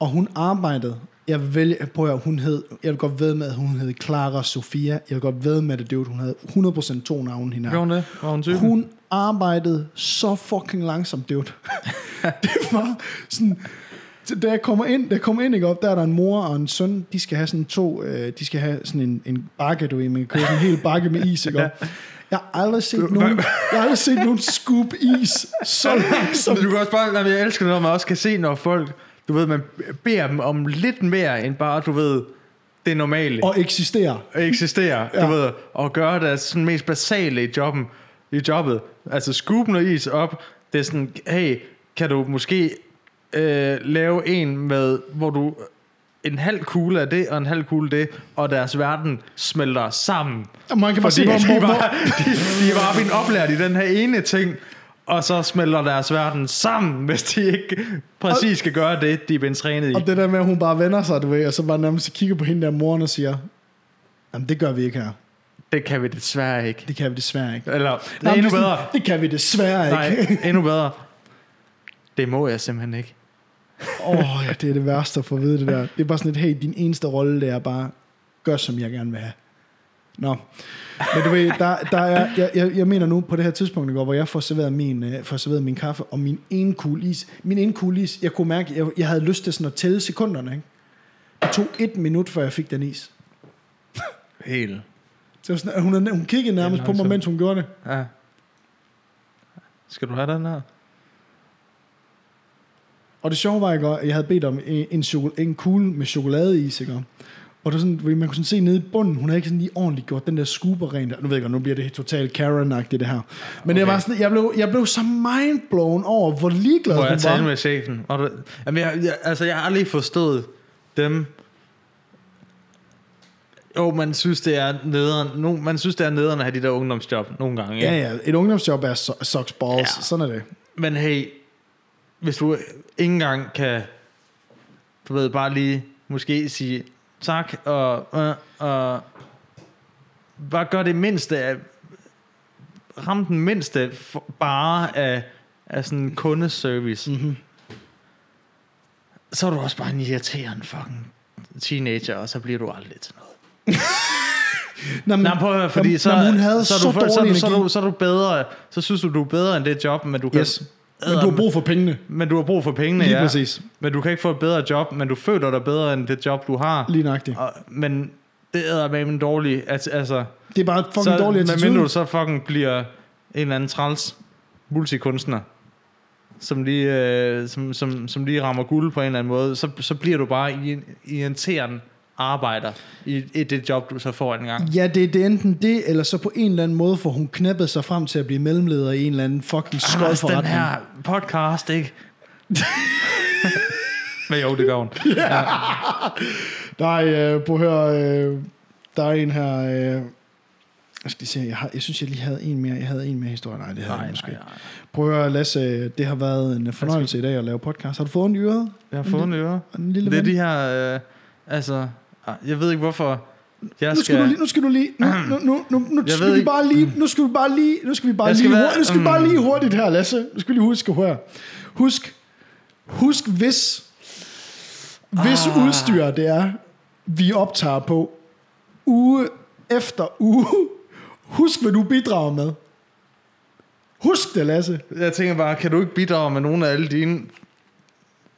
og hun arbejdede. Jeg vil, prøv at høre, hun hed, jeg vil godt ved med, at hun hed Clara Sofia. Jeg vil godt ved med, at det var, hun havde 100% to navne hende her. Gjorde hun det? Var hun typen? Hun arbejdede så fucking langsomt, dude. det var sådan... så Da jeg kommer ind, da jeg kommer ind ikke op, der er der en mor og en søn, de skal have sådan to, øh, de skal have sådan en, en bakke, du ved, man kan købe sådan en hel bakke med is, ikke op. Jeg har aldrig set nogen, jeg har aldrig set nogen scoop is så langsomt. Du kan også bare, jamen, jeg elsker det, når man også kan se, når folk, du ved, man beder dem om lidt mere, end bare, du ved, det normale. Og eksisterer. at eksistere, ja. Ja. du ved, og gøre det altså sådan mest basale i jobben, i jobbet. Altså skubbe noget is op, det er sådan, hey, kan du måske øh, lave en med, hvor du en halv kugle af det, og en halv kugle af det, og deres verden smelter sammen. Og man kan bare se, Fordi Altså, hvor, hvor, de, hvor, var, de, de var blevet oplært i den her ene ting, og så smelter deres verden sammen, hvis de ikke præcis skal gøre det, de er blevet trænet i. Og det der med, at hun bare vender sig, du ved, og så bare nærmest kigger på hende der moren og siger, jamen det gør vi ikke her. Det kan vi desværre ikke. Det kan vi desværre ikke. Eller, det Nå, er men endnu sådan, bedre. Det kan vi desværre ikke. Nej, endnu bedre. Det må jeg simpelthen ikke. Åh, oh, ja, det er det værste at få at vide det der. Det er bare sådan et, hey, din eneste rolle, det er bare, gør som jeg gerne vil have. Nå, men du ved, der, der er, jeg, jeg, jeg mener nu på det her tidspunkt, ikke, hvor jeg får serveret, min, øh, får serveret min kaffe og min ene kugle is. Min ene kugle is, jeg kunne mærke, jeg, jeg havde lyst til sådan at tælle sekunderne. Ikke? Det tog et minut, før jeg fik den is. Helt. Så sådan, at hun, er- hun kiggede nærmest på mig, langsomt. mens hun gjorde det. Ja. Skal du have den her? Og det sjove var, ikke, at jeg havde bedt om en, en, chokol- en kugle med chokoladeis, ikke? Og det var sådan, hvor man kunne sådan se nede i bunden, hun havde ikke sådan lige ordentligt gjort den der scooper rent. Nu ved jeg godt, nu bliver det totalt karen det her. Men okay. det Okay. var sådan, jeg blev, jeg blev så mindblown over, hvor ligeglad Må jeg hun var. tale med chefen? Og du, jamen, jeg, jeg, altså, jeg har aldrig forstået dem. Jo, man synes, det er nederen. No, man synes, det er nederen at have de der ungdomsjob nogle gange. Ja, ikke? ja, et ungdomsjob er so- socks balls, ja. Ja. sådan er det. Men hey, hvis du ikke engang kan, du ved, bare lige måske sige tak, og, og, og bare gør det mindste af, ram den mindste for, bare af, af sådan en kundeservice, Mhm. mm-hmm. så er du også bare en irriterende fucking teenager, og så bliver du aldrig til noget. Nå, men, Nej, prøv at høre, fordi jamen, så, jamen, hun havde så, er så, du, så, er dårlig du, så, er energi. du, så er du bedre, så synes du, du er bedre end det job, men du kan... Yes. Men du har brug for pengene, Men du har brug for pengene, lige ja. præcis. Men du kan ikke få et bedre job, men du føler dig bedre end det job, du har. Lige nøjagtigt. Og, men det er med en dårlig... Altså, altså Det er bare et fucking dårlig attitude. Men du så fucking bliver en eller anden træls multikunstner, som lige, øh, som, som, som lige rammer guld på en eller anden måde, så, så bliver du bare i en irriterende arbejder i, i det job, du så får en gang. Ja, det, det er enten det, eller så på en eller anden måde får hun knæppet sig frem til at blive mellemleder i en eller anden fucking Anders, Ah, den skodforretning. her podcast, ikke? men jo, det gør hun. Nej, øh, prøv at høre, øh, der er en her... Øh, jeg skal lige se, jeg, har, jeg synes, jeg lige havde en mere. Jeg havde en mere historie. Nej, det havde jeg Nej, måske. nej, nej. Prøv at høre, Lasse, øh, det har været en fornøjelse i dag at lave podcast. Har du fået en yret? Jeg har fået en øre. Og en lille det er ven? de her, øh, altså, ah, jeg ved ikke hvorfor, Jeg nu skal, du lige, nu skal du lige, nu, nu, nu, nu, nu Jeg skal ved vi ikke- bare lige, nu skal vi bare lige, nu skal vi bare Jeg skal lige, være- hurtigt, nu skal vi bare mm. lige hurtigt her, Lasse. Nu skal vi lige huske her. Husk, husk hvis, hvis Ah. udstyr det er, vi optager på uge efter uge. Husk, hvad du bidrager med. Husk det, Lasse. Jeg tænker bare, kan du ikke bidrage med nogle af alle dine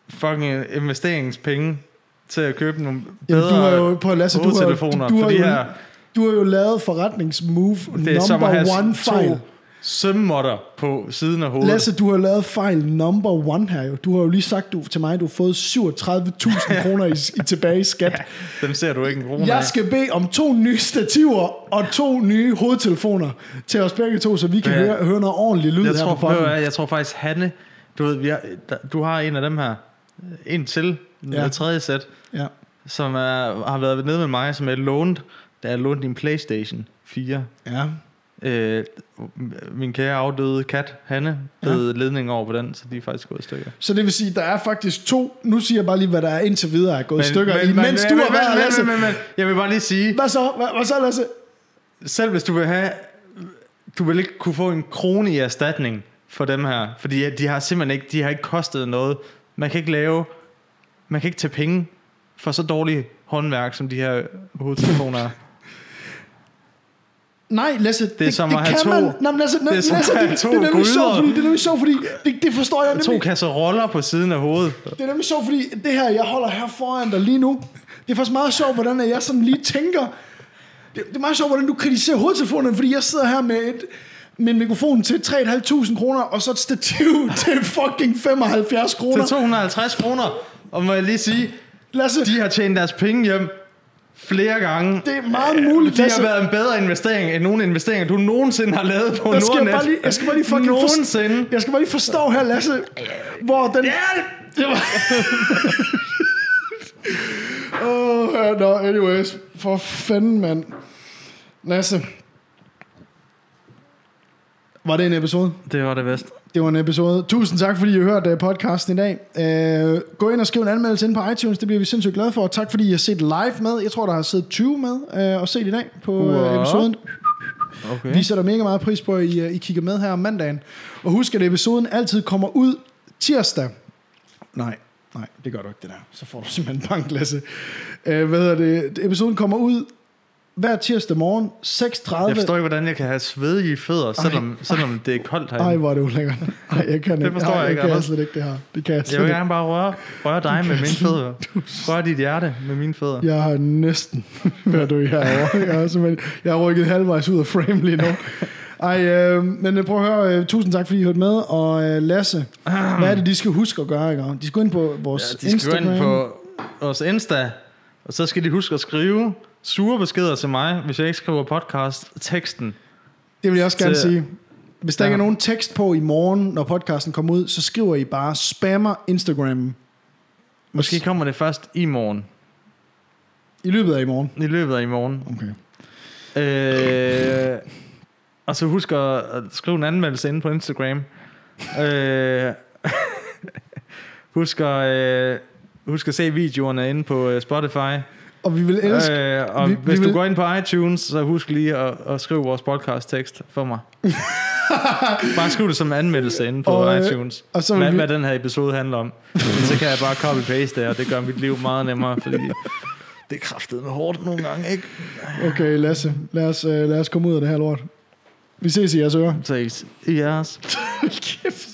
fucking investeringspenge til at købe nogle Jamen, bedre du har jo, på Lasse, du har, hovedtelefoner? du, har fordi jo, her, du har jo lavet forretningsmove det er som at number have one to fejl. sømmotter på siden af hovedet. Lasse, du har lavet fejl number one her jo. Du har jo lige sagt du, til mig, at du har fået 37.000 kroner i, i tilbage i skat. Dem ser du ikke en krone Jeg af. skal bede om to nye stativer og to nye hovedtelefoner til os begge to, så vi kan Ja. høre, høre noget ordentligt lyd jeg, her tror, på ved du hvad, podden. jeg tror faktisk, Hanne, du, ved, vi har, der, du har en af dem her, en til, ja. Ja. det tredje sæt, Ja. som er, har været nede med mig, som jeg lånte, da jeg lånte din Playstation 4. ja. Øh, min kære afdøde kat, Hanne, blev ja. ledning over på den, så de er faktisk gået i stykker. Så det vil sige, der er faktisk to, nu siger jeg bare lige, hvad der er indtil videre er gået i stykker, men, mens du har været, Lasse. men, men, Jeg vil bare lige sige, Hvad så? Hvad, hvad så, Lasse? selv hvis du vil have, du vil ikke kunne få en krone i erstatning for dem her, fordi de har simpelthen ikke, de har ikke kostet noget. Man kan ikke lave, man kan ikke tage penge for så dårlig håndværk, som de her hovedtelefoner er. Nej, Lasse, det, er som at have kan to- man. Nej, men Lasse, det er det, som Lasse, at have det, to det er nemlig sjovt, gryder. fordi, det er nemlig sjovt, fordi det, det forstår jeg To nemlig. kasser roller på siden af hovedet. Det er nemlig sjovt, fordi det her, jeg holder her foran dig lige nu, det er faktisk meget sjovt, hvordan at jeg sådan lige tænker. Det, det er meget sjovt, hvordan du kritiserer hovedtelefonerne, fordi jeg sidder her med et med en mikrofon til 3.500 kroner, og så et stativ til fucking 75 Til kroner. 250 kroner. Og må jeg lige sige, Lasse, de har tjent deres penge hjem flere gange. det er meget muligt, Det har Lasse. været en bedre investering end nogen investeringer, du nogensinde har lavet på Der skal jeg, Nordnet. bare lige, jeg skal bare lige fucking forst- Nogensinde. Jeg skal bare lige forstå her, Lasse, hvor den... Det var... Åh, oh, no, anyways. For fanden, mand. Lasse. Var det en episode? Det var det bedste. Det var en episode. Tusind tak, fordi I hørte øh, podcasten i dag. Øh, gå ind og skriv en anmeldelse ind på iTunes. Det bliver vi sindssygt glade for. Og tak, fordi I har set live med. Jeg tror, der har siddet 20 med øh, og set i dag på Wow. øh, episoden. Okay. Vi sætter mega meget pris på, at I, øh, I kigger med her om mandagen. Og husk, at episoden altid kommer ud tirsdag. Nej, nej, det gør du ikke det der. Så får du simpelthen bank, Lasse. Øh, hvad hedder det? Episoden kommer ud hver tirsdag morgen, 6.30. Jeg forstår ikke, hvordan jeg kan have svedige fødder, selvom, selvom det er koldt herinde. Ej, hvor er det ulækkert. Ej, jeg kan ikke. forstår Ej, jeg ikke, Jeg kan Anders. slet ikke det her. Det kan jeg slet jeg vil ikke. gerne bare røre, røre dig med mine fødder. Røre dit hjerte med mine fødder. Jeg har næsten været død herovre. Jeg har, simpelthen- jeg har rykket halvvejs ud af frame lige nu. Ej, øh, men øh, prøv at høre, øh, tusind tak fordi I hørte med, og øh, Lasse, hvad er det, de skal huske at gøre, ikke? De skal gå ind på vores Ja, de skal gå Instagram. ind på vores Insta, og så skal de huske at skrive sure beskeder til mig, hvis jeg ikke skriver podcast-teksten. Det vil jeg også gerne til- sige. Hvis der ikke Ja. er nogen tekst på i morgen, når podcasten kommer ud, så skriver I bare, spammer Instagram Måske kommer det først i morgen, i løbet af i morgen. i løbet af i morgen. Okay. Øh, og så husk at, at skrive en anmeldelse inde på Instagram. øh, husk, at, øh, husk at se videoerne inde på øh, Spotify. Og vi vil elske... Øh, og vi, vi- hvis vi du vil- går ind på iTunes, så husk lige at, at skrive vores podcast-tekst for mig. bare skriv det som anmeldelse inde på Og, og, øh, iTunes. Og og så så vil hvad, vi... vi- hvad den her episode handler om. så kan jeg bare copy-paste det, og det gør mit liv meget nemmere, fordi det er kraftet med hårdt nogle gange, ikke? Øh. Okay, Lasse, lad os, øh, lad os komme ud af det her lort. Vi ses i jeres ører. Så I- I jeres. Kæft.